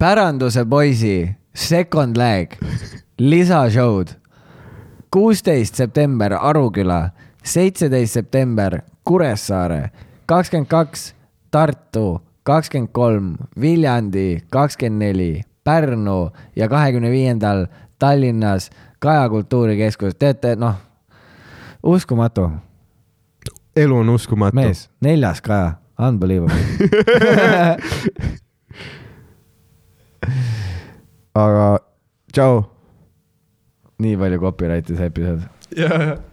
[SPEAKER 3] päranduse poisi second leg lisashow'd . kuusteist september Aruküla , seitseteist september Kuressaare , kakskümmend kaks Tartu , kakskümmend kolm Viljandi , kakskümmend neli Pärnu ja kahekümne viiendal Tallinnas Kaja Kultuurikeskus , teate noh ,
[SPEAKER 2] uskumatu
[SPEAKER 1] elu on uskumatu .
[SPEAKER 2] mees , neljas Kaja , unbelievable .
[SPEAKER 1] aga tšau
[SPEAKER 2] nii palju copyright'i see episood .
[SPEAKER 1] yeah.